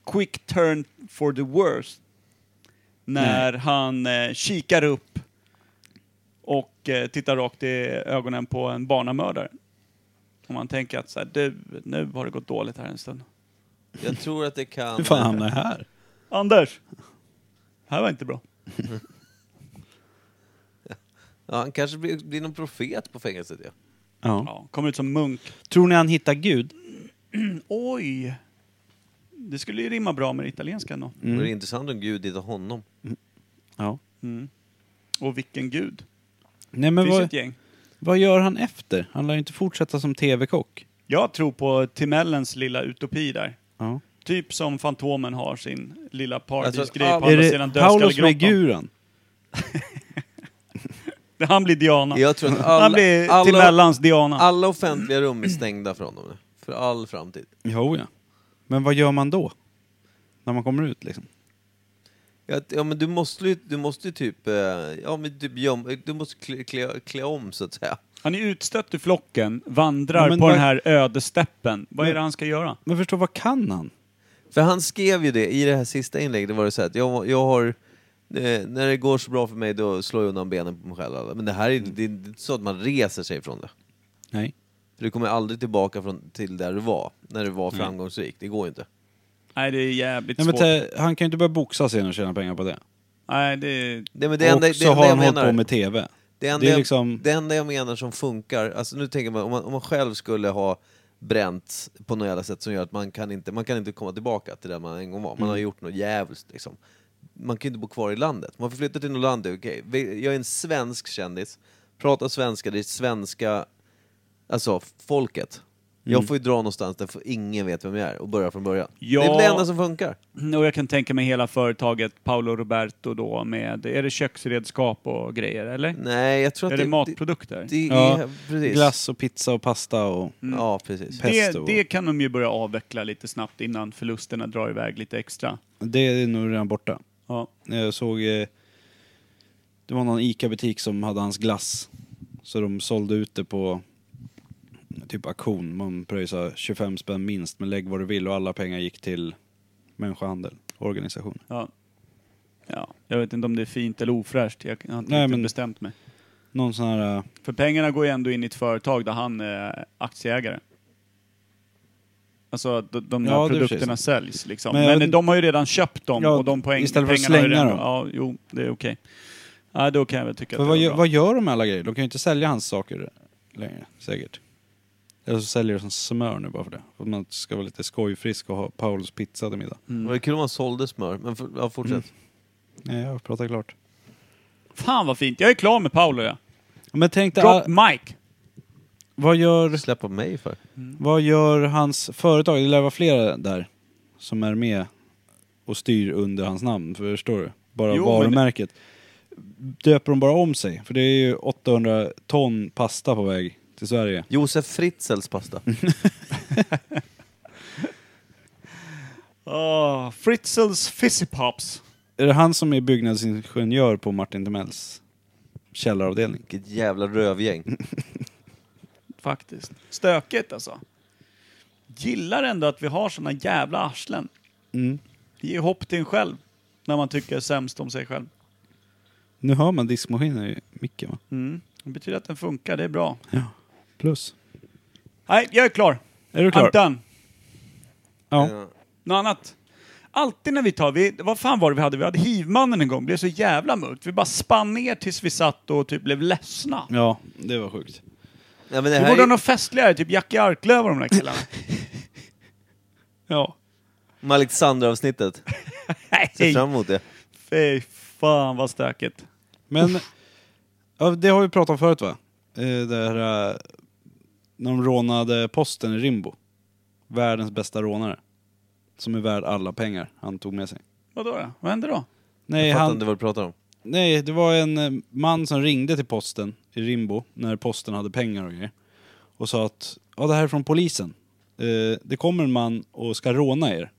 Speaker 3: quick turn for the worst. När han eh, kikar upp och eh, tittar rakt i ögonen på en barnamördare. Om man tänker att så här, du, nu har det gått dåligt här en stund.
Speaker 1: Jag tror att det kan...
Speaker 2: Hur fan hamnade jag här?
Speaker 3: Anders! Det här var inte bra.
Speaker 1: Ja, han kanske blir, blir någon profet på fängelset ja.
Speaker 2: Ja.
Speaker 3: Ja, kommer ut som munk.
Speaker 2: Tror ni han hittar Gud?
Speaker 3: Oj! Det skulle ju rimma bra med det italienska ändå.
Speaker 1: Mm. Vore det intressant om Gud hittade honom?
Speaker 2: Ja.
Speaker 3: Mm. Och vilken gud.
Speaker 2: Nej
Speaker 3: Det
Speaker 2: men
Speaker 3: finns ju ett
Speaker 2: vad,
Speaker 3: gäng.
Speaker 2: vad gör han efter? Han lär ju inte fortsätta som TV-kock.
Speaker 3: Jag tror på Timellens lilla utopi där.
Speaker 2: Ja.
Speaker 3: Typ som Fantomen har sin lilla paradisgrej
Speaker 1: all-
Speaker 3: på
Speaker 2: Alltså, Är det
Speaker 3: andra sidan
Speaker 2: Paulus med
Speaker 3: dödskallegrottan.
Speaker 2: guran?
Speaker 3: Han blir Diana.
Speaker 1: Jag tror att
Speaker 3: Han
Speaker 1: alla,
Speaker 3: blir
Speaker 1: alla,
Speaker 3: Timellans Diana.
Speaker 1: alla offentliga rum är stängda för honom nu. För all framtid.
Speaker 2: Jo, ja. Men vad gör man då? När man kommer ut liksom?
Speaker 1: Ja, t- ja men du måste ju, du måste ju typ, eh, ja men typ göm, du måste klä, klä, klä om så att säga.
Speaker 3: Han är utstött ur flocken, vandrar
Speaker 2: Ja, men
Speaker 3: på
Speaker 2: vad-
Speaker 3: den här ödesteppen. Vad är
Speaker 2: Men-
Speaker 3: det han ska göra?
Speaker 2: Men förstå, vad kan han?
Speaker 1: För han skrev ju det i det här sista inlägget, det var det så här att jag, jag har, eh, när det går så bra för mig då slår jag undan benen på mig själv. Men det här är,
Speaker 2: Mm.
Speaker 1: det, det är inte så att man reser sig från det.
Speaker 2: Nej.
Speaker 1: För du kommer aldrig tillbaka från, till där du var, när du var
Speaker 2: Mm.
Speaker 1: framgångsrik. Det går ju inte.
Speaker 3: Nej, det är jävligt
Speaker 2: Nej, men
Speaker 3: svårt.
Speaker 2: te- han kan ju inte börja boxa sen och tjäna pengar på det.
Speaker 3: Nej, det är...
Speaker 1: Nej, men det enda,
Speaker 2: och
Speaker 1: det
Speaker 2: så
Speaker 1: enda
Speaker 2: har
Speaker 1: jag
Speaker 2: han hållit
Speaker 1: menar,
Speaker 2: på med TV.
Speaker 1: det, enda
Speaker 2: det är
Speaker 1: jag,
Speaker 2: liksom-
Speaker 1: det enda jag menar som funkar, alltså nu tänker man om man, om man själv skulle ha bränt på något jävla sätt som gör att man kan inte, man kan inte komma tillbaka till där man en gång var. Man har
Speaker 2: Mm.
Speaker 1: gjort något jävligt liksom. Man kan ju inte bo kvar i landet. Man får flytta till något land, det är okej. Vi- Jag är en svensk kändis, pratar svenska, det är svenska, alltså folket.
Speaker 2: Mm.
Speaker 1: Jag får ju dra någonstans där för ingen vet vem jag är och börja från början.
Speaker 3: Ja.
Speaker 1: Det är det enda som funkar.
Speaker 3: Och jag kan tänka mig hela företaget Paolo Roberto då med, är det köksredskap och grejer eller?
Speaker 1: Nej, Mm. jag tror
Speaker 3: är
Speaker 1: att
Speaker 3: det,
Speaker 1: det...
Speaker 3: matprodukter? Det,
Speaker 1: Det, det
Speaker 2: Ja,
Speaker 1: är, precis.
Speaker 2: Glass och pizza och pasta och...
Speaker 1: Ja, precis.
Speaker 2: pesto
Speaker 3: det,
Speaker 2: och-
Speaker 3: kan de ju börja avveckla lite snabbt innan förlusterna drar iväg lite extra.
Speaker 2: Det är nog redan borta.
Speaker 3: Ja.
Speaker 2: Jag såg... eh, Det var någon ICA-butik som hade hans glass. Så de sålde ut det på typ auktion. Man pröjsade 25 spänn minst, men lägg vad du vill och alla pengar gick till människohandel, organisationer.
Speaker 3: Ja. ja. Jag vet inte om det är fint eller ofräscht, jag har inte
Speaker 2: Nej,
Speaker 3: riktigt
Speaker 2: men-
Speaker 3: bestämt mig.
Speaker 2: Någon sån här... eh,
Speaker 3: För pengarna går ju ändå in i ett företag där han är aktieägare. Alltså de, de här
Speaker 2: Ja, det är för sig
Speaker 3: produkterna säljs liksom.
Speaker 2: Men
Speaker 3: Men,
Speaker 2: jag-
Speaker 3: de har ju redan köpt dem
Speaker 2: Ja,
Speaker 3: och de poäng,
Speaker 2: istället för att
Speaker 3: pengarna har ju
Speaker 2: slänga
Speaker 3: redan-
Speaker 2: dem.
Speaker 3: Ja, jo, det är okej. Ja, då kan jag väl tycka
Speaker 2: För
Speaker 3: att
Speaker 2: vad,
Speaker 3: det
Speaker 2: gör,
Speaker 3: var
Speaker 2: vad
Speaker 3: bra.
Speaker 2: gör de med alla grejer? De kan ju inte sälja hans saker längre, säkert. Eller så säljer de som smör nu bara för det. För att man ska vara lite skojfrisk och ha Paulus pizza till middag.
Speaker 3: Mm.
Speaker 1: Det var kul om man sålde smör, men för, ja, fortsätt.
Speaker 2: Nej, jag pratar klart.
Speaker 3: Fan vad fint, jag är klar med Paolo ja.
Speaker 2: Men tänk dig,
Speaker 3: Drop
Speaker 2: all-
Speaker 3: mic!
Speaker 2: vad gör,
Speaker 1: Släppa mig för?
Speaker 2: vad gör hans företag? Det lär vara flera där som är med och styr under hans namn, förstår du? Bara
Speaker 3: Jo, men-
Speaker 2: varumärket. Döper de bara om sig? För det är ju 800 ton pasta på väg till Sverige.
Speaker 1: Josef Fritzels pasta.
Speaker 3: Mm. Oh, Fritzels Fizzy Pops.
Speaker 2: Är det han som är byggnadsingenjör på Martin Timells källaravdelning?
Speaker 1: Vilket jävla rövgäng.
Speaker 3: Faktiskt. Stökigt alltså. Gillar ändå att vi har såna jävla arslen.
Speaker 2: Mm.
Speaker 3: Det ger hopp till en själv. När man tycker sämst om sig själv.
Speaker 2: Nu hör man diskmaskinen i micken va?
Speaker 3: Mm. Det betyder att den funkar, det är bra.
Speaker 2: Plus.
Speaker 3: Nej, jag är klar.
Speaker 2: Är du klar?
Speaker 3: I'm done.
Speaker 2: Ja.
Speaker 3: Något annat? Alltid när vi tar, vi, vad fan var det vi hade? Vi hade hivmannen en gång, det blev så jävla mörkt. Vi bara spann ner tills vi satt och typ blev ledsna.
Speaker 2: Ja, det var sjukt.
Speaker 1: Ja, men det
Speaker 3: Vi
Speaker 1: här
Speaker 3: borde ha
Speaker 1: är
Speaker 3: något festligare, typ Jackie Arklöv och de där killarna. ja.
Speaker 1: ju med Alexander-avsnittet. Ser
Speaker 3: Nej,
Speaker 1: fram emot det.
Speaker 3: fy fan vad stökigt.
Speaker 2: Men, ja, det har vi pratat om förut va? Eh, Det här, eh, när de rånade posten i Rimbo. Världens bästa rånare. Som är värd alla pengar han tog med sig.
Speaker 3: Vadå då? Vad hände då?
Speaker 2: Nej,
Speaker 1: Jag fattar
Speaker 2: han,
Speaker 1: inte vad du pratar om.
Speaker 2: Nej, det var en eh, man som ringde till posten i Rimbo när posten hade pengar och grejer. Och sa att, ja det här är från polisen. Eh, det kommer en man och ska råna er.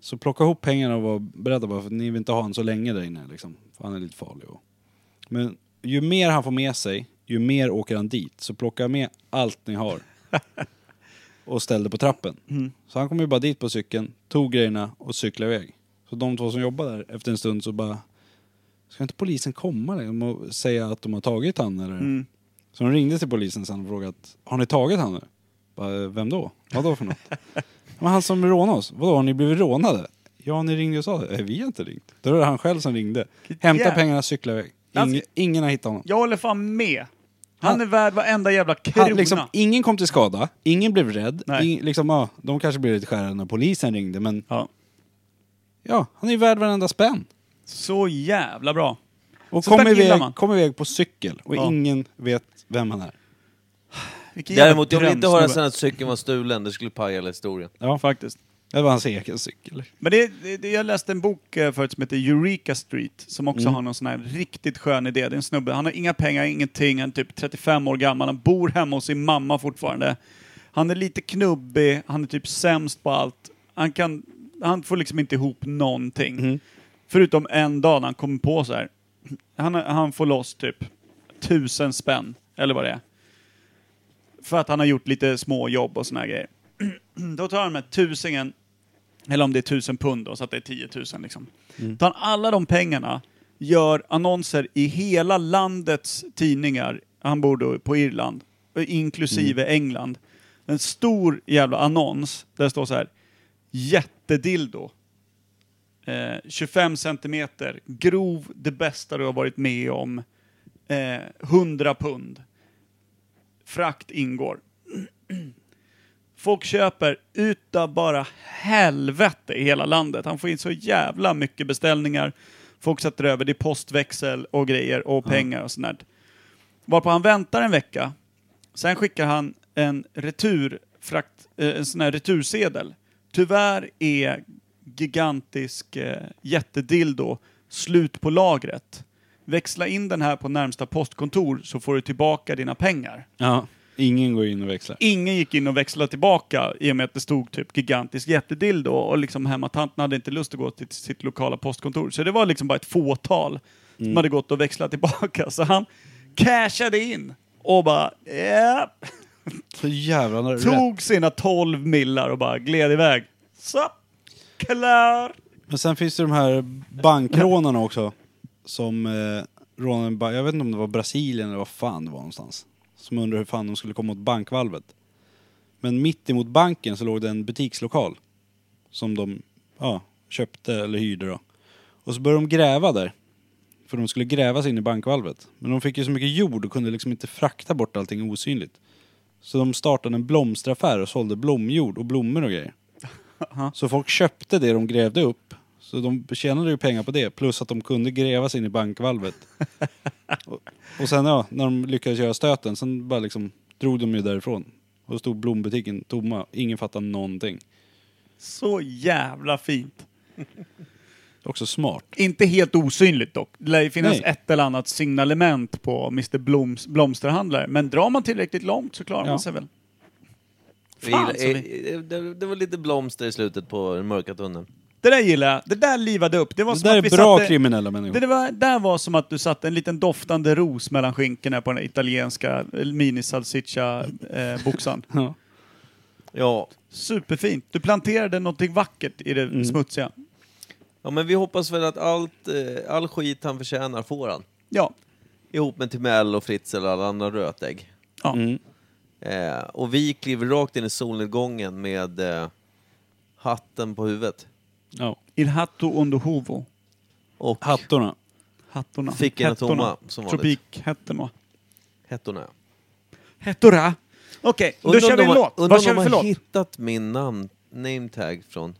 Speaker 2: Så plocka ihop pengarna och var beredda bara för ni vill inte ha honom så länge där inne liksom. För han är lite farlig och... Men ju mer han får med sig, ju mer åker han dit. Så plocka med allt ni har. och ställde på trappen. Så han kom ju bara dit på cykeln, tog grejerna och cyklade iväg. Så de två som jobbade där, efter en stund så bara Ska inte polisen komma liksom och säga att de har tagit han eller? Så de ringde till polisen sen och frågade att, har ni tagit han nu? Bara, Vem då? Vadå för något? Men han som rånade oss, vadå har ni blivit rånade? Ja ni ringde och sa det, "Nej, vi har inte ringt. Då var det han själv som ringde. Hämta
Speaker 3: jävla-
Speaker 2: pengarna, cykla iväg. Ingen,
Speaker 3: Alltså-
Speaker 2: ingen har hittat honom.
Speaker 3: Jag håller fan med. Han är värd varenda jävla krona.
Speaker 2: Han, liksom, ingen kom till skada, ingen blev rädd.
Speaker 3: Nej.
Speaker 2: Ing, liksom, ja, de kanske blev lite skära när polisen ringde, men
Speaker 3: ja.
Speaker 2: ja, han är ju värd varenda spänn.
Speaker 3: Så jävla bra.
Speaker 2: Och
Speaker 3: Så
Speaker 2: kom
Speaker 3: spänn gillar
Speaker 2: iväg,
Speaker 3: man.
Speaker 2: kom iväg på cykel och
Speaker 3: Ja.
Speaker 2: ingen vet vem han är.
Speaker 3: Vilken jävla
Speaker 1: Däremot, jag vill inte höra
Speaker 3: drömsnubbe.
Speaker 1: sen att cykeln var stulen, det skulle paja hela historien.
Speaker 3: Ja, faktiskt.
Speaker 2: Det var hans egen cykel.
Speaker 3: Men det, det, det- jag läste en bok eh, förut som heter Eureka Street, som också har någon sån här riktigt skön idé. Det är en snubbe, han har inga pengar, ingenting, han är typ 35 år gammal, han bor hemma hos sin mamma fortfarande. Han är lite knubbig, han är typ sämst på allt. Han, kan, han får liksom inte ihop någonting. Förutom en dag när han kommer på så här. Han, han får loss typ tusen spänn, eller vad det är. För att han har gjort lite småjobb och såna här grejer. Då tar han med tusingen eller om det är 1000 pund då, så att det är 10 000 liksom. Tar han alla de pengarna, gör annonser i hela landets tidningar, han bor då på Irland, inklusive England. En stor jävla annons där det står så här, jättedildo. Eh, 25 centimeter, grov, det bästa du har varit med om. Eh, 100 pund. Frakt ingår. Folk köper utav bara helvete i hela landet. Han får in så jävla mycket beställningar. Folk sätter över, det är postväxel och grejer och pengar och sånt där. Varpå han väntar en vecka. Sen skickar han en returfrakt, eh, en sån här retursedel. Tyvärr är gigantisk eh, jättedildo slut på lagret. Växla in den här på närmsta postkontor så får du tillbaka dina pengar.
Speaker 2: Ja. Ingen går in och växlar.
Speaker 3: Ingen gick in och växlade tillbaka i och med att det stod typ gigantisk jättedildo och liksom hemmatanten hade inte lust att gå till sitt lokala postkontor. Så det var liksom bara ett fåtal
Speaker 2: Mm.
Speaker 3: som hade gått och växlat tillbaka. Så han cashade in och bara ja,
Speaker 2: Så jävla rätt.
Speaker 3: tog sina 12 millar och bara gled iväg. Så, klar!
Speaker 2: Men sen finns det de här bankrånarna också. Som eh, rånade en ba- jag vet inte om det var Brasilien eller vad fan det var någonstans. Som undrade hur fan de skulle komma åt bankvalvet. Men mitt emot banken så låg det en butikslokal. Som de ja, köpte eller hyrde då. Och så började de gräva där. För de skulle gräva sig in i bankvalvet. Men de fick ju så mycket jord och kunde liksom inte frakta bort allting osynligt. Så de startade en blomsteraffär och sålde blomjord och blommor och grejer. Så folk köpte det de grävde upp. Så de tjänade ju pengar på det, plus att de kunde gräva sig in i bankvalvet. och, och sen ja, när de lyckades göra stöten, sen bara liksom drog de ju därifrån. Och då stod blombutiken tomma, ingen fattade någonting.
Speaker 3: Så jävla fint.
Speaker 2: Också smart.
Speaker 3: Inte helt osynligt dock. Det lär ju finnas
Speaker 2: Nej.
Speaker 3: ett eller annat signalement på Mr Bloms blomsterhandlare. Men drar man tillräckligt långt så klarar
Speaker 2: Ja.
Speaker 3: man sig väl.
Speaker 1: Jag
Speaker 3: Fan, alltså,
Speaker 1: gillar-
Speaker 3: så
Speaker 1: eh, eh, det, det var lite blomster i slutet på den mörka tunneln.
Speaker 3: Det där gillar jag. Det där livade upp. Det var
Speaker 2: Det
Speaker 3: som
Speaker 2: där är
Speaker 3: att vi
Speaker 2: bra
Speaker 3: satte...
Speaker 2: kriminella
Speaker 3: Det,
Speaker 2: människor.
Speaker 3: det var, där var som att du satte en liten doftande ros mellan skinkorna på den italienska eh, mini-salsiccia-boxan.
Speaker 2: Ja.
Speaker 1: Ja.
Speaker 3: Superfint. Du planterade någonting vackert i det
Speaker 1: Mm.
Speaker 3: smutsiga.
Speaker 1: ja, men vi hoppas väl att allt, eh, all skit han förtjänar får han.
Speaker 3: Ja.
Speaker 1: Ihop med Timell och Fritzl och alla andra rötägg.
Speaker 3: ja.
Speaker 2: Mm.
Speaker 1: Eh, och vi kliver rakt in i solnedgången med eh, hatten på huvudet.
Speaker 2: Ja.
Speaker 3: Il hatto ondo huvo.
Speaker 1: Och
Speaker 2: Hattorna.
Speaker 3: Hattorna.
Speaker 1: Fickorna
Speaker 3: Hettorna.
Speaker 1: tomma, som vanligt.
Speaker 3: Tropikhättorna.
Speaker 1: hettorna.
Speaker 3: Hettora! Okej, då
Speaker 1: Undrar
Speaker 3: kör
Speaker 1: om
Speaker 3: vi
Speaker 1: de
Speaker 3: en
Speaker 1: har-
Speaker 3: låt.
Speaker 1: Undrar
Speaker 3: Vad
Speaker 1: om
Speaker 3: kör
Speaker 1: de
Speaker 3: vi för
Speaker 1: har
Speaker 3: låt?
Speaker 1: hittat min namn, name tag från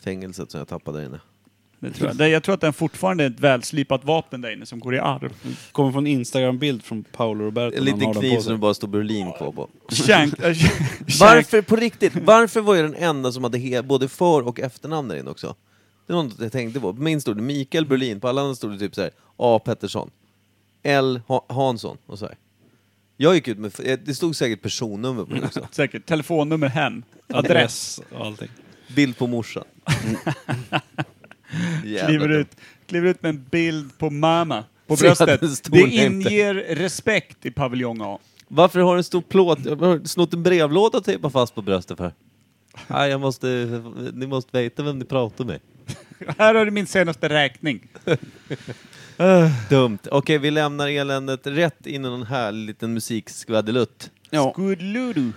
Speaker 1: fängelset som jag tappade där inne.
Speaker 3: Det tror jag. Det- jag tror att den fortfarande är ett välslipat vapen där inne som går i arv.
Speaker 1: Mm.
Speaker 2: Kommer från Instagram-bild från Paolo Roberto.
Speaker 1: En
Speaker 2: när han
Speaker 1: liten
Speaker 2: har den
Speaker 1: kniv
Speaker 2: på sig.
Speaker 1: som det bara står Berlin kvar på.
Speaker 3: Shank, äh,
Speaker 1: Varför, på riktigt, varför var jag den enda som hade he- både för och efternamn där inne också? Det var något jag tänkte på. På min stod det Mikael Berlin, på alla andra stod det typ så här A. Pettersson, L. Ha- Hansson och så här. Jag gick ut med, f- eh, det stod säkert personnummer på den också.
Speaker 3: Säkert. Telefonnummer hem. Adress.
Speaker 2: Adress och allting.
Speaker 1: Bild på morsan. Jävla
Speaker 3: Mm. Kliver
Speaker 1: dumt.
Speaker 3: ut, kliver ut med en bild på mamma på
Speaker 1: Så jag hade
Speaker 3: bröstet.
Speaker 1: en stor
Speaker 3: Det
Speaker 1: name tag.
Speaker 3: inger respekt i paviljong A.
Speaker 1: Varför har du en stor plåt, varför har du snott en brevlåda och tejpat fast på bröstet för? Nej, jag måste, ni måste veta vem ni pratar med.
Speaker 3: Här har du min senaste räkning.
Speaker 1: Dumt. Okej, vi lämnar eländet rätt in i någon härlig liten musikskvadelutt.
Speaker 2: Ja.
Speaker 3: Skuldludu.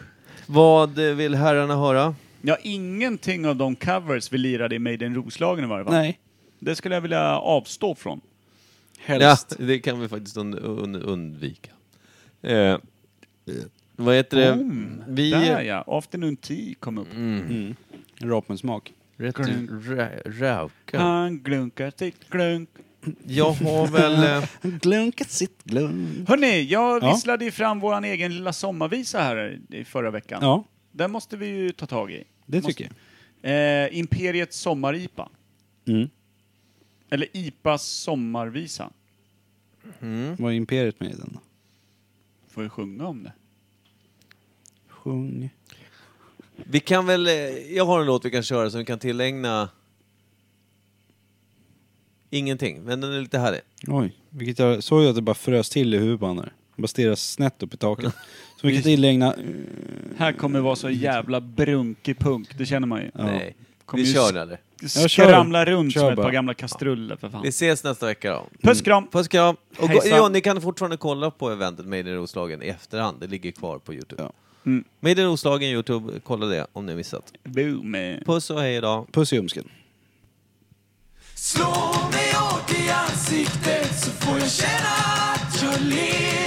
Speaker 1: Vad eh, vill herrarna höra?
Speaker 3: Ja, ingenting av de covers vi lirade i Made in Roslagen i varje fall.
Speaker 2: Nej.
Speaker 3: Det skulle jag vilja avstå från.
Speaker 2: Helst.
Speaker 1: Ja, det kan vi faktiskt und- un- undvika. Eh, vad heter det? Vi...
Speaker 3: Där ja, Afternoon Tea kom upp.
Speaker 2: Mm, Rapensmak.
Speaker 1: Rätt rä- rauka.
Speaker 3: Han glunkar sitt glunk.
Speaker 1: Jag har väl... eh,
Speaker 2: Glunkat sitt glunk.
Speaker 3: Hörni, jag
Speaker 2: Ja.
Speaker 3: visslade ju fram vår egen lilla sommarvisa här i förra veckan.
Speaker 2: Ja,
Speaker 3: Den måste vi ju ta tag i.
Speaker 2: det
Speaker 3: Måste-
Speaker 2: tycker jag.
Speaker 3: Eh, Imperiets sommar-IPA.
Speaker 2: Mm.
Speaker 3: Eller IPAs sommarvisa.
Speaker 2: Vad är Imperiet med i den då?
Speaker 3: Får vi sjunga om det?
Speaker 2: Sjung.
Speaker 1: Vi kan väl... eh, Jag har en låt vi kan köra som vi kan tillägna... Ingenting, men den är lite härlig.
Speaker 2: Oj, vilket jag såg ju att det bara frös till i huvudet på han där. Han Bara stirrade snett upp i taket. Så vi kan tillägna...
Speaker 3: Här kommer vara så jävla brunkig punk, det känner man ju.
Speaker 1: Nej.
Speaker 3: Kommer
Speaker 1: vi
Speaker 3: ju
Speaker 1: kör
Speaker 3: s-
Speaker 1: den eller?
Speaker 2: Ja, kör.
Speaker 3: Skramla runt
Speaker 2: Kör
Speaker 3: som ett
Speaker 2: bara.
Speaker 3: par gamla kastruller för fan.
Speaker 1: Vi ses nästa vecka då.
Speaker 3: Puss kram!
Speaker 1: Puss kram! Och gå,
Speaker 3: Hejsan.
Speaker 1: ja, ni kan fortfarande kolla på eventet Made in Roslagen i efterhand. Det ligger kvar på Youtube.
Speaker 2: Ja.
Speaker 3: Mm.
Speaker 1: Made in Roslagen Youtube, kolla det om ni har missat.
Speaker 3: Boom! eh.
Speaker 1: Puss och hej idag.
Speaker 2: Puss i ljumsken.
Speaker 8: Slå mig hårt i ansiktet så får jag känna att jag lever